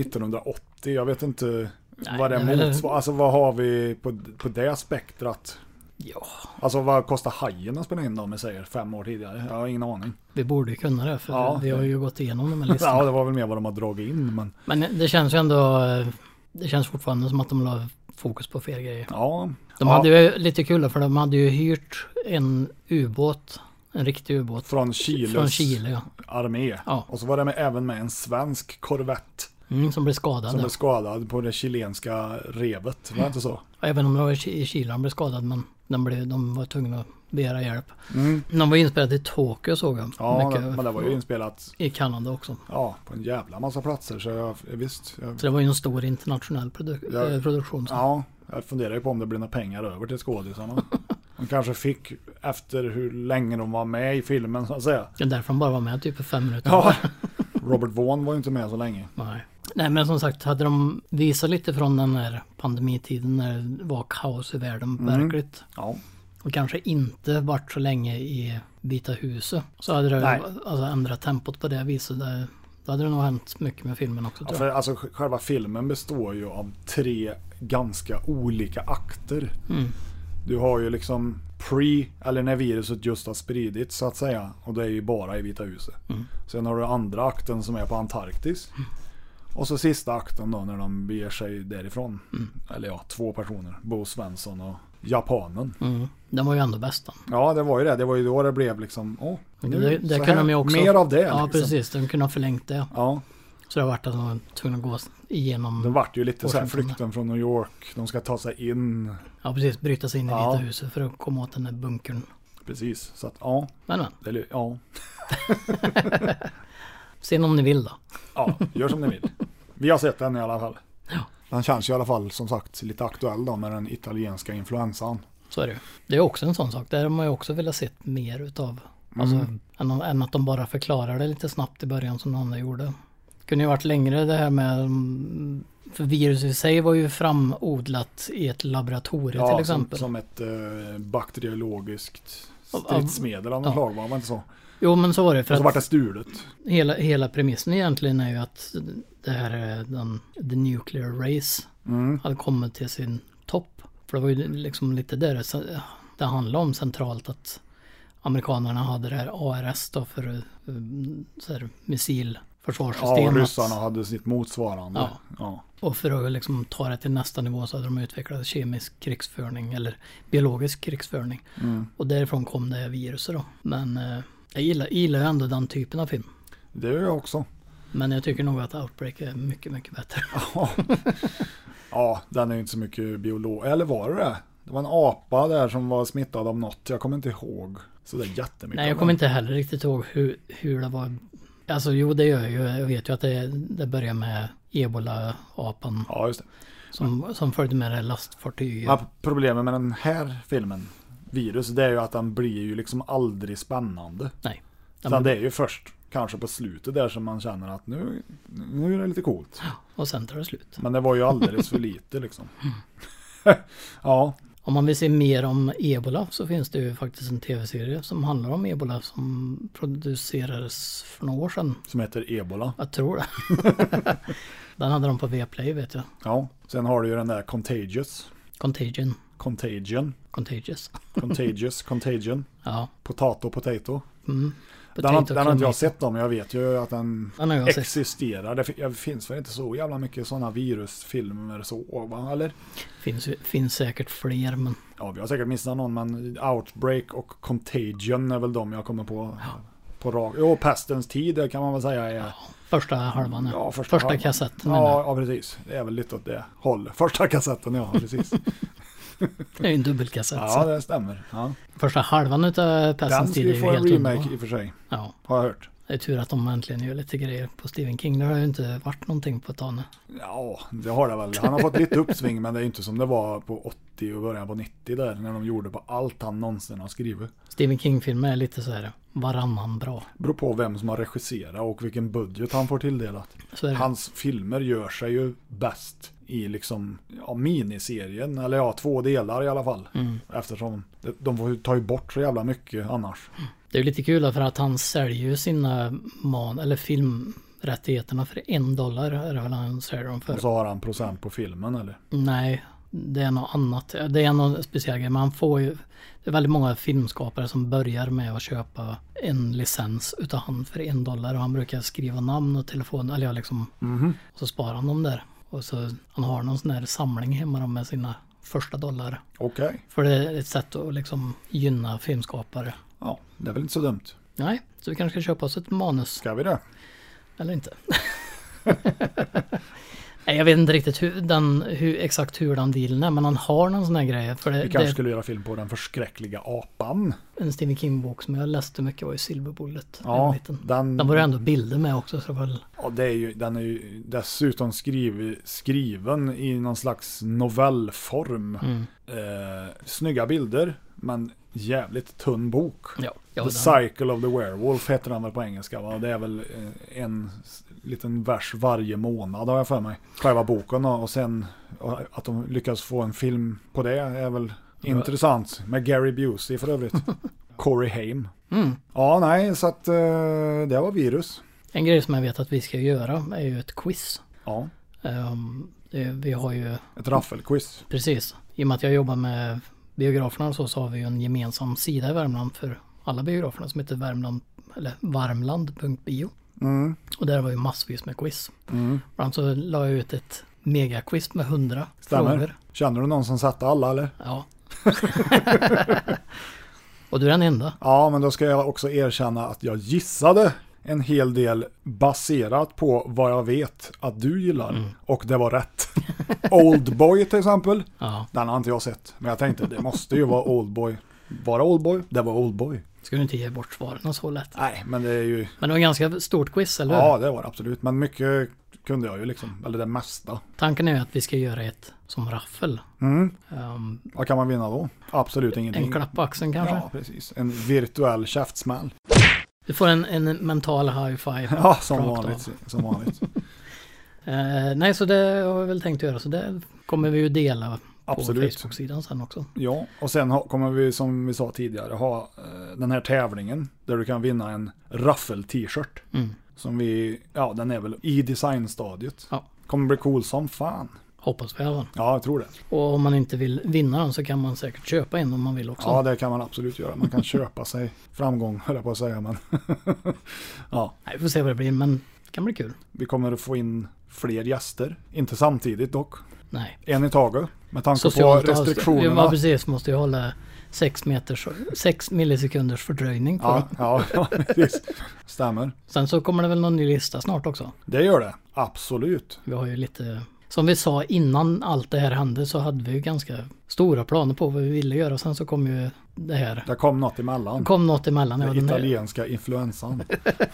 Speaker 2: 1980. Jag vet inte vad det
Speaker 3: det är väl-
Speaker 2: motsvarar. Alltså vad har vi på, på det spektrat?
Speaker 3: Ja,
Speaker 2: Alltså vad kostar Hajen att spela in då, om jag säger fem år tidigare? Jag har ingen aning.
Speaker 3: vi borde ju kunna det för
Speaker 2: Ja.
Speaker 3: vi har ju gått igenom de här listorna.
Speaker 2: Ja, det var väl mer vad de har dragit in, men
Speaker 3: Men det känns ju ändå, eh, det känns fortfarande som att de la fokus på fel grejer.
Speaker 2: ja.
Speaker 3: De
Speaker 2: ja,
Speaker 3: hade ju lite kul då, för de hade ju hyrt en ubåt, en riktig ubåt.
Speaker 2: Från Chiles
Speaker 3: Från Chile ja.
Speaker 2: armé.
Speaker 3: Ja.
Speaker 2: Och så var det med, även med en svensk korvett
Speaker 3: Mm, som blev skadad.
Speaker 2: som
Speaker 3: ja.
Speaker 2: blev skadad på det chilenska revet. Var det inte så?
Speaker 3: Även om det var i Chi- i Chile han blev skadad men de, blev, de var tvungna att begära hjälp. De var inspelade i Tokyo såg jag.
Speaker 2: Mm. Ja,
Speaker 3: Mycket.
Speaker 2: men det var ju inspelat
Speaker 3: I Kanada också.
Speaker 2: ja, på en jävla massa platser. Så jag, visst, jag,
Speaker 3: Så det var ju en stor internationell produ-
Speaker 2: Ja.
Speaker 3: eh, produktion. Så.
Speaker 2: ja, jag funderar ju på om det blir några pengar över till skådisarna. De kanske fick efter hur länge de var med i filmen så att säga.
Speaker 3: Det är därför de bara var med typ i fem minuter.
Speaker 2: Ja. Robert Vaughn var ju inte med så länge.
Speaker 3: Nej. Nej men som sagt, hade de visat lite från den här pandemitiden när det var kaos i världen
Speaker 2: Mm.
Speaker 3: verkligt.
Speaker 2: Ja,
Speaker 3: Och kanske inte varit så länge i Vita huset. Så hade det
Speaker 2: Nej.
Speaker 3: alltså, ändrat tempot på det viset. Det, då hade det nog hänt mycket med filmen också
Speaker 2: Ja,
Speaker 3: tror
Speaker 2: för
Speaker 3: jag.
Speaker 2: alltså, sj- själva filmen består ju av tre ganska olika akter.
Speaker 3: Mm.
Speaker 2: Du har ju liksom pre, eller när viruset just har spridits så att säga. Och det är ju bara i Vita huset.
Speaker 3: Mm.
Speaker 2: Sen har du andra akten som är på Antarktis. Och så sista akten då när de beger sig därifrån.
Speaker 3: Mm.
Speaker 2: Eller ja, två personer. Bo Svensson och japanen.
Speaker 3: Mm. Den var ju ändå bäst. den.
Speaker 2: Ja, det var ju det. Det var ju då det blev liksom, åh, nu,
Speaker 3: Det, det
Speaker 2: så
Speaker 3: kunde
Speaker 2: här,
Speaker 3: de ju också...
Speaker 2: mer av det.
Speaker 3: Ja,
Speaker 2: liksom.
Speaker 3: precis. De kunde ha förlängt det.
Speaker 2: Ja,
Speaker 3: Så det har varit att de var tvungna att gå igenom...
Speaker 2: det vart ju lite så här
Speaker 3: Washington.
Speaker 2: flykten från New York. De ska ta sig in
Speaker 3: Ja, precis. Bryta sig in i
Speaker 2: Ja.
Speaker 3: Vita huset för att komma åt den där bunkern.
Speaker 2: Precis, så att ja.
Speaker 3: Men, men.
Speaker 2: Eller, ja.
Speaker 3: Se om ni vill då.
Speaker 2: ja, gör som ni vill. Vi har sett den i alla fall. Den känns ju i alla fall som sagt lite aktuell då med den italienska influensan.
Speaker 3: Så är det ju. Det är också en sån sak. Där har man ju också velat se mer utav. Alltså,
Speaker 2: Mm.
Speaker 3: än, än att de bara förklarar det lite snabbt i början som de andra gjorde. Det kunde ju varit längre det här med... mm, För virus i sig var ju framodlat i ett laboratorium till exempel.
Speaker 2: Som, som ett eh, bakteriologiskt stridsmedel av något
Speaker 3: Ja.
Speaker 2: slag, va? var det inte så?
Speaker 3: Jo men så var det. För
Speaker 2: Och så vart
Speaker 3: att
Speaker 2: det stulet.
Speaker 3: hela, hela premissen egentligen är ju att det här är den, the nuclear race
Speaker 2: Mm.
Speaker 3: hade kommit till sin topp. För det var ju liksom lite där det sen- det handlade om centralt att amerikanerna hade det här ARS då för eh, så här,
Speaker 2: Ja, och
Speaker 3: missilförsvarssystemet.
Speaker 2: ryssarna hade sitt motsvarande.
Speaker 3: Ja. Och för att liksom ta det till nästa nivå så hade de utvecklat kemisk krigsföring eller biologisk krigsföring.
Speaker 2: Mm.
Speaker 3: Och därifrån kom det här viruset då. Men eh, jag gillar, gillar ju ändå den typen av film.
Speaker 2: Det gör jag också.
Speaker 3: Men jag tycker nog att Outbreak är mycket, mycket bättre.
Speaker 2: Ja, den är ju inte så mycket biolog... Eller var det det? Det var en apa där som var smittad av något. Jag kommer inte ihåg. Så det är jättemycket.
Speaker 3: Nej, jag kommer inte heller riktigt ihåg hur, hur det var. Alltså jo, det gör jag ju. Jag vet ju att det, det börjar med ebola-apan
Speaker 2: Ja, just det.
Speaker 3: som, som följde med det här lastfartyget.
Speaker 2: Men problemet med den här filmen, Virus, det är ju att den blir ju liksom aldrig spännande.
Speaker 3: Nej. Ja,
Speaker 2: Utan
Speaker 3: men,
Speaker 2: det är ju först kanske på slutet där som man känner att nu, nu är det lite coolt.
Speaker 3: och sen tar det slut.
Speaker 2: Men det var ju alldeles för lite liksom. ja,
Speaker 3: Om man vill se mer om ebola så finns det ju faktiskt en tv-serie som handlar om ebola som producerades för några år sedan.
Speaker 2: som heter Ebola.
Speaker 3: Jag tror det. Den hade de på Viaplay vet jag.
Speaker 2: Ja, sen har du ju den där Contagious.
Speaker 3: Contagion.
Speaker 2: Contagion.
Speaker 3: Contagious.
Speaker 2: Contagious, Contagion.
Speaker 3: Ja.
Speaker 2: Potato, potato. Den, har-
Speaker 3: Potato
Speaker 2: den har inte
Speaker 3: Climate.
Speaker 2: jag sett om, jag vet ju att den
Speaker 3: Den har jag sett.
Speaker 2: existerar. Det fi- Det finns väl inte så jävla mycket sådana virusfilmer så, va? Eller?
Speaker 3: Finns, ju- finns säkert fler men
Speaker 2: Ja, vi har säkert missat någon, men Outbreak och Contagion är väl de jag kommer på. På rak. Jo, Pestens tid det kan man väl säga är...
Speaker 3: första halvan.
Speaker 2: Ja,
Speaker 3: första,
Speaker 2: halvan.
Speaker 3: kassetten. menar
Speaker 2: Ja,
Speaker 3: jag.
Speaker 2: ja, precis. Det är väl lite åt det hållet. Första kassetten, ja, precis.
Speaker 3: Det är ju en dubbelkassett.
Speaker 2: ja,
Speaker 3: så.
Speaker 2: det stämmer. Ja.
Speaker 3: Första halvan utav
Speaker 2: Den
Speaker 3: Pestens
Speaker 2: ska
Speaker 3: tid är
Speaker 2: ju
Speaker 3: ju
Speaker 2: få en
Speaker 3: helt
Speaker 2: remake
Speaker 3: underbar.
Speaker 2: i och för sig,
Speaker 3: Ja,
Speaker 2: har jag hört.
Speaker 3: det är tur att de äntligen gör lite grejer på Stephen King. Det har ju inte varit någonting på ett tag nu.
Speaker 2: Ja, det har det väl. Han har fått lite uppsving, men det är inte som det var på 80 och början på 90 där, när de gjorde på allt han någonsin har skrivit.
Speaker 3: Stephen King-filmer är lite så här varannan bra.
Speaker 2: Beror på vem som har regisserat och vilken budget han får tilldelat.
Speaker 3: Så är det.
Speaker 2: Hans filmer gör sig ju bäst i liksom ja, miniserien, eller ja, två delar i alla fall.
Speaker 3: Mm.
Speaker 2: Eftersom det- de får ju ta ju bort så jävla mycket annars.
Speaker 3: Det är ju lite kul då, för att han säljer ju sina man eller filmrättigheterna för en dollar är det väl han säljer dem för.
Speaker 2: Och så har han procent på filmen eller?
Speaker 3: Nej, det är något annat. Det är någon speciell grej. Man får ju, det är väldigt många filmskapare som börjar med att köpa en licens utav han för en dollar och han brukar skriva namn och telefon, eller ja liksom. Och så sparar han dem där. Och så han har någon sån här samling hemma då med sina första dollar.
Speaker 2: Okej,
Speaker 3: För det är ett sätt att liksom gynna filmskapare.
Speaker 2: ja, det är väl inte så dumt.
Speaker 3: Nej, så vi kanske ska köpa oss ett manus.
Speaker 2: Ska vi det?
Speaker 3: Eller inte. Nej, jag vet inte riktigt hur den, hur, exakt hur den dealen är, men han har någon sån här grej. För det,
Speaker 2: Vi
Speaker 3: det
Speaker 2: kanske
Speaker 3: är
Speaker 2: skulle göra film på den förskräckliga apan.
Speaker 3: en Stephen King-bok som jag läste mycket var ju Silver Bullet. när jag var
Speaker 2: Ja,
Speaker 3: liten.
Speaker 2: den,
Speaker 3: Den var ju ändå bilder med också, så det var väl...
Speaker 2: ja, det är ju, den är ju dessutom skriv, skriven i någon slags novellform.
Speaker 3: Mm.
Speaker 2: Eh, snygga bilder, men jävligt tunn bok.
Speaker 3: Ja, ja
Speaker 2: The
Speaker 3: den,
Speaker 2: Cycle of the Werewolf heter den väl på engelska va? Det är väl eh, en s- liten vers varje månad har jag för mig. Själva boken och och sen och att de lyckas få en film på det är väl intressant. Med Gary Busey för övrigt. Corey Haim.
Speaker 3: Mm.
Speaker 2: Ja, nej, så att eh, det var virus.
Speaker 3: en grej som jag vet att vi ska göra är ju ett quiz.
Speaker 2: Ja,
Speaker 3: Ehm, det, vi har ju,
Speaker 2: ett raffelquiz.
Speaker 3: precis, i och med att jag jobbar med biograferna och så, så har vi ju en gemensam sida i Värmland för alla biograferna som heter Värmland, eller varmland.bio.
Speaker 2: Mm.
Speaker 3: Och där var ju massvis med quiz. Bland annat så la jag ut ett megaquiz med 100
Speaker 2: Stämmer.
Speaker 3: frågor.
Speaker 2: Känner du någon som satte alla eller?
Speaker 3: Ja. och du är den enda.
Speaker 2: Ja, men då ska jag också erkänna att jag gissade en hel del baserat på vad jag vet att du gillar.
Speaker 3: Mm.
Speaker 2: Och det var rätt. Oldboy till exempel.
Speaker 3: Ja.
Speaker 2: Den har inte jag sett. Men jag tänkte det måste ju vara Oldboy. Vara Oldboy? Det var Oldboy.
Speaker 3: Ska du inte ge bort svaren så lätt.
Speaker 2: Nej, men det är ju...
Speaker 3: Men det var ett ganska stort quiz, eller hur?
Speaker 2: Ja, det var det absolut. Men mycket kunde jag ju liksom. Eller det mesta.
Speaker 3: Tanken är ju att vi ska göra ett som raffel.
Speaker 2: Mm.
Speaker 3: Ehm,
Speaker 2: Vad kan man vinna då? Absolut ingenting.
Speaker 3: en klapp på axeln kanske.
Speaker 2: Ja, precis. En virtuell käftsmäll.
Speaker 3: Du får en, en mental high five.
Speaker 2: Ja, som
Speaker 3: rakt av.
Speaker 2: vanligt. Som vanligt.
Speaker 3: Eh, nej, så det har vi väl tänkt att göra. Så det kommer vi ju dela på
Speaker 2: Absolut.
Speaker 3: Facebook-sidan sen också.
Speaker 2: Ja, och sen ha, kommer vi som vi sa tidigare ha eh, den här tävlingen där du kan vinna en raffel-t-shirt.
Speaker 3: Mm.
Speaker 2: Som vi, ja den är väl i designstadiet.
Speaker 3: Ja,
Speaker 2: Kommer bli cool som fan.
Speaker 3: hoppas vi i alla fall.
Speaker 2: Ja, jag tror det.
Speaker 3: Och om man inte vill vinna den så kan man säkert köpa en om man vill också.
Speaker 2: Ja, det kan man absolut göra. Man kan köpa sig framgång, höll jag på att säga. Men ja,
Speaker 3: Nej, vi får se vad det blir, men det kan bli kul.
Speaker 2: vi kommer att få in fler gäster. Inte samtidigt dock.
Speaker 3: Nej.
Speaker 2: En i taget. Med tanke på
Speaker 3: avstånd. Vi
Speaker 2: restriktionerna.
Speaker 3: var precis, måste ju hålla 6 meters, 6 millisekunders fördröjning på
Speaker 2: Ja,
Speaker 3: den.
Speaker 2: ja, ja, precis. Stämmer.
Speaker 3: Sen så kommer det väl någon ny lista snart också.
Speaker 2: Det gör det. Absolut.
Speaker 3: Vi har ju lite, som vi sa innan allt det här hände så hade vi ju ganska stora planer på vad vi ville göra. Sen så kom ju det här.
Speaker 2: Det kom något emellan.
Speaker 3: Det kom något emellan. Ja, den här,
Speaker 2: Italienska influensan.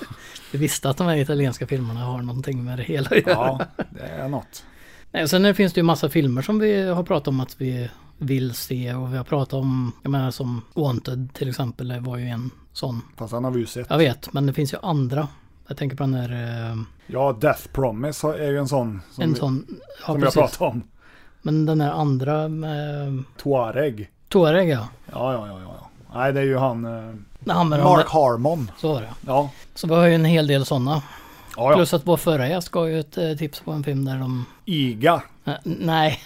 Speaker 3: vi visste att de här italienska filmerna har någonting med det hela att göra.
Speaker 2: Ja, det är något.
Speaker 3: Nej, sen finns det ju massa filmer som vi har pratat om att vi vill se och vi har pratat om, jag menar som Wanted till exempel, det var ju en sån.
Speaker 2: Fast den har vi ju sett.
Speaker 3: Jag vet, men det finns ju andra. Jag tänker på den här, eh,
Speaker 2: Ja, Death Promise har- är ju en sån som,
Speaker 3: en
Speaker 2: vi,
Speaker 3: sån, ja
Speaker 2: som jag
Speaker 3: precis.
Speaker 2: pratade om.
Speaker 3: Men den här andra med
Speaker 2: Tuareg.
Speaker 3: Tuareg ja.
Speaker 2: Ja, ja, ja, ja. ja. Nej, det är ju han. Eh,
Speaker 3: När han med de
Speaker 2: Mark
Speaker 3: där-
Speaker 2: Harmon.
Speaker 3: Så var det.
Speaker 2: Ja,
Speaker 3: Så vi har ju en hel del sådana.
Speaker 2: ja, ja.
Speaker 3: Plus att vår förra gäst gav ju ett eh, tips på en film där de...
Speaker 2: Iga.
Speaker 3: Eh, nej.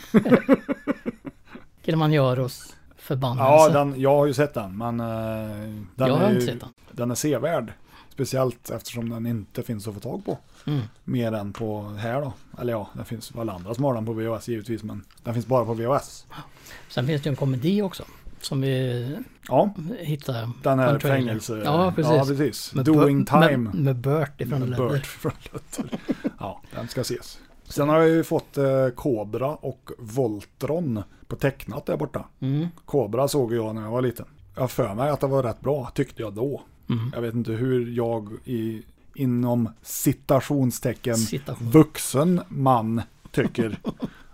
Speaker 3: Kilimanjaros förbannelse.
Speaker 2: Ja, den, jag har ju sett den, men eh, den,
Speaker 3: Jag har
Speaker 2: är ju,
Speaker 3: inte sett den.
Speaker 2: den är sevärd. Speciellt eftersom den inte finns att få tag på.
Speaker 3: Mm.
Speaker 2: Mer än på här då. Eller ja, det finns väl andra som har den på VHS givetvis, men den finns bara på VHS.
Speaker 3: Sen finns det ju en komedi också. Som vi
Speaker 2: Ja,
Speaker 3: hittade.
Speaker 2: den
Speaker 3: på
Speaker 2: här
Speaker 3: en trailer.
Speaker 2: fängelse...
Speaker 3: Ja, precis.
Speaker 2: Ja, precis.
Speaker 3: Med
Speaker 2: Doing
Speaker 3: Bert-
Speaker 2: time.
Speaker 3: Med, med Bert ifrån
Speaker 2: Med
Speaker 3: Lödder.
Speaker 2: Bert från Lötter. Ja, den ska ses. Sen har jag ju fått eh, Kobra och Voltron på tecknat där borta.
Speaker 3: Mm.
Speaker 2: Kobra såg jag när jag var liten. Jag har för mig att det var rätt bra, tyckte jag då.
Speaker 3: Mm.
Speaker 2: Jag vet inte hur jag i, inom citationstecken
Speaker 3: Citation.
Speaker 2: vuxen man tycker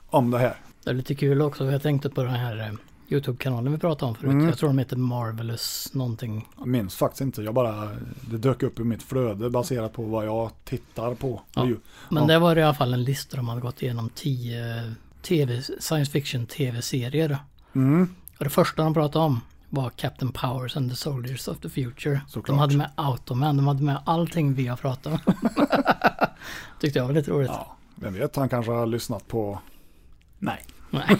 Speaker 2: om det här.
Speaker 3: Det är lite kul också. Jag tänkte på den här eh, Youtube-kanalen vi pratade om förut.
Speaker 2: Mm.
Speaker 3: Jag tror de heter Marvelous någonting.
Speaker 2: Jag minns faktiskt inte, jag bara, det dök upp i mitt flöde baserat på vad jag tittar på.
Speaker 3: Ja,
Speaker 2: Ju-
Speaker 3: Men
Speaker 2: ja.
Speaker 3: det var i alla fall en lista de hade gått igenom tio TV, science fiction tv-serier.
Speaker 2: Mm.
Speaker 3: Och det första de pratade om var Captain Powers and the Soldiers of the Future.
Speaker 2: Såklart.
Speaker 3: De hade med Automan, de hade med allting vi har pratat om. Tyckte jag var lite roligt.
Speaker 2: ja, vem vet, han kanske har lyssnat på... Nej.
Speaker 3: Nej,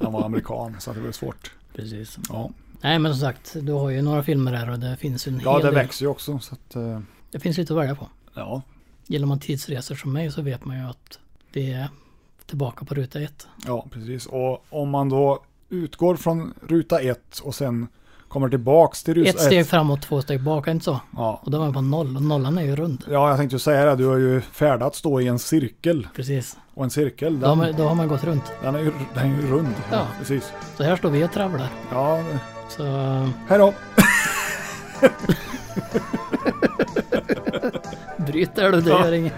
Speaker 2: Han var amerikan så det var svårt.
Speaker 3: precis.
Speaker 2: Ja,
Speaker 3: Nej men som sagt, du har ju några filmer här och det finns ju en
Speaker 2: ja
Speaker 3: hel
Speaker 2: det
Speaker 3: del.
Speaker 2: växer ju också. Så att, eh,
Speaker 3: Det finns lite att välja på.
Speaker 2: ja.
Speaker 3: Gillar man tidsresor som mig så vet man ju att det är tillbaka på ruta ett.
Speaker 2: ja, precis. Och om man då utgår från ruta ett och sen kommer tillbaks till ruta
Speaker 3: Ett steg framåt, två steg bak, är det inte så?
Speaker 2: Ja.
Speaker 3: Och då var man på noll, och nollan är ju rund.
Speaker 2: ja, jag tänkte ju säga det. Du har ju färdats då i en cirkel.
Speaker 3: Precis.
Speaker 2: Och en cirkel,
Speaker 3: Då har
Speaker 2: den,
Speaker 3: man, då har man gått runt.
Speaker 2: den, är, ju, den är ju rund.
Speaker 3: Ja.
Speaker 2: Precis.
Speaker 3: Så här står vi och travlar.
Speaker 2: Ja,
Speaker 3: Så eh,
Speaker 2: hej då.
Speaker 3: bryter du, det gör inget.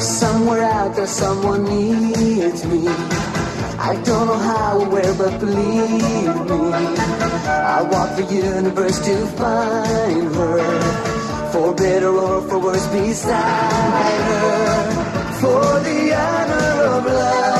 Speaker 10: Somewhere out there, someone needs me. I don't know how or where, but believe me. I walk the universe to find her. For better or for worse, beside her. For the honor of love.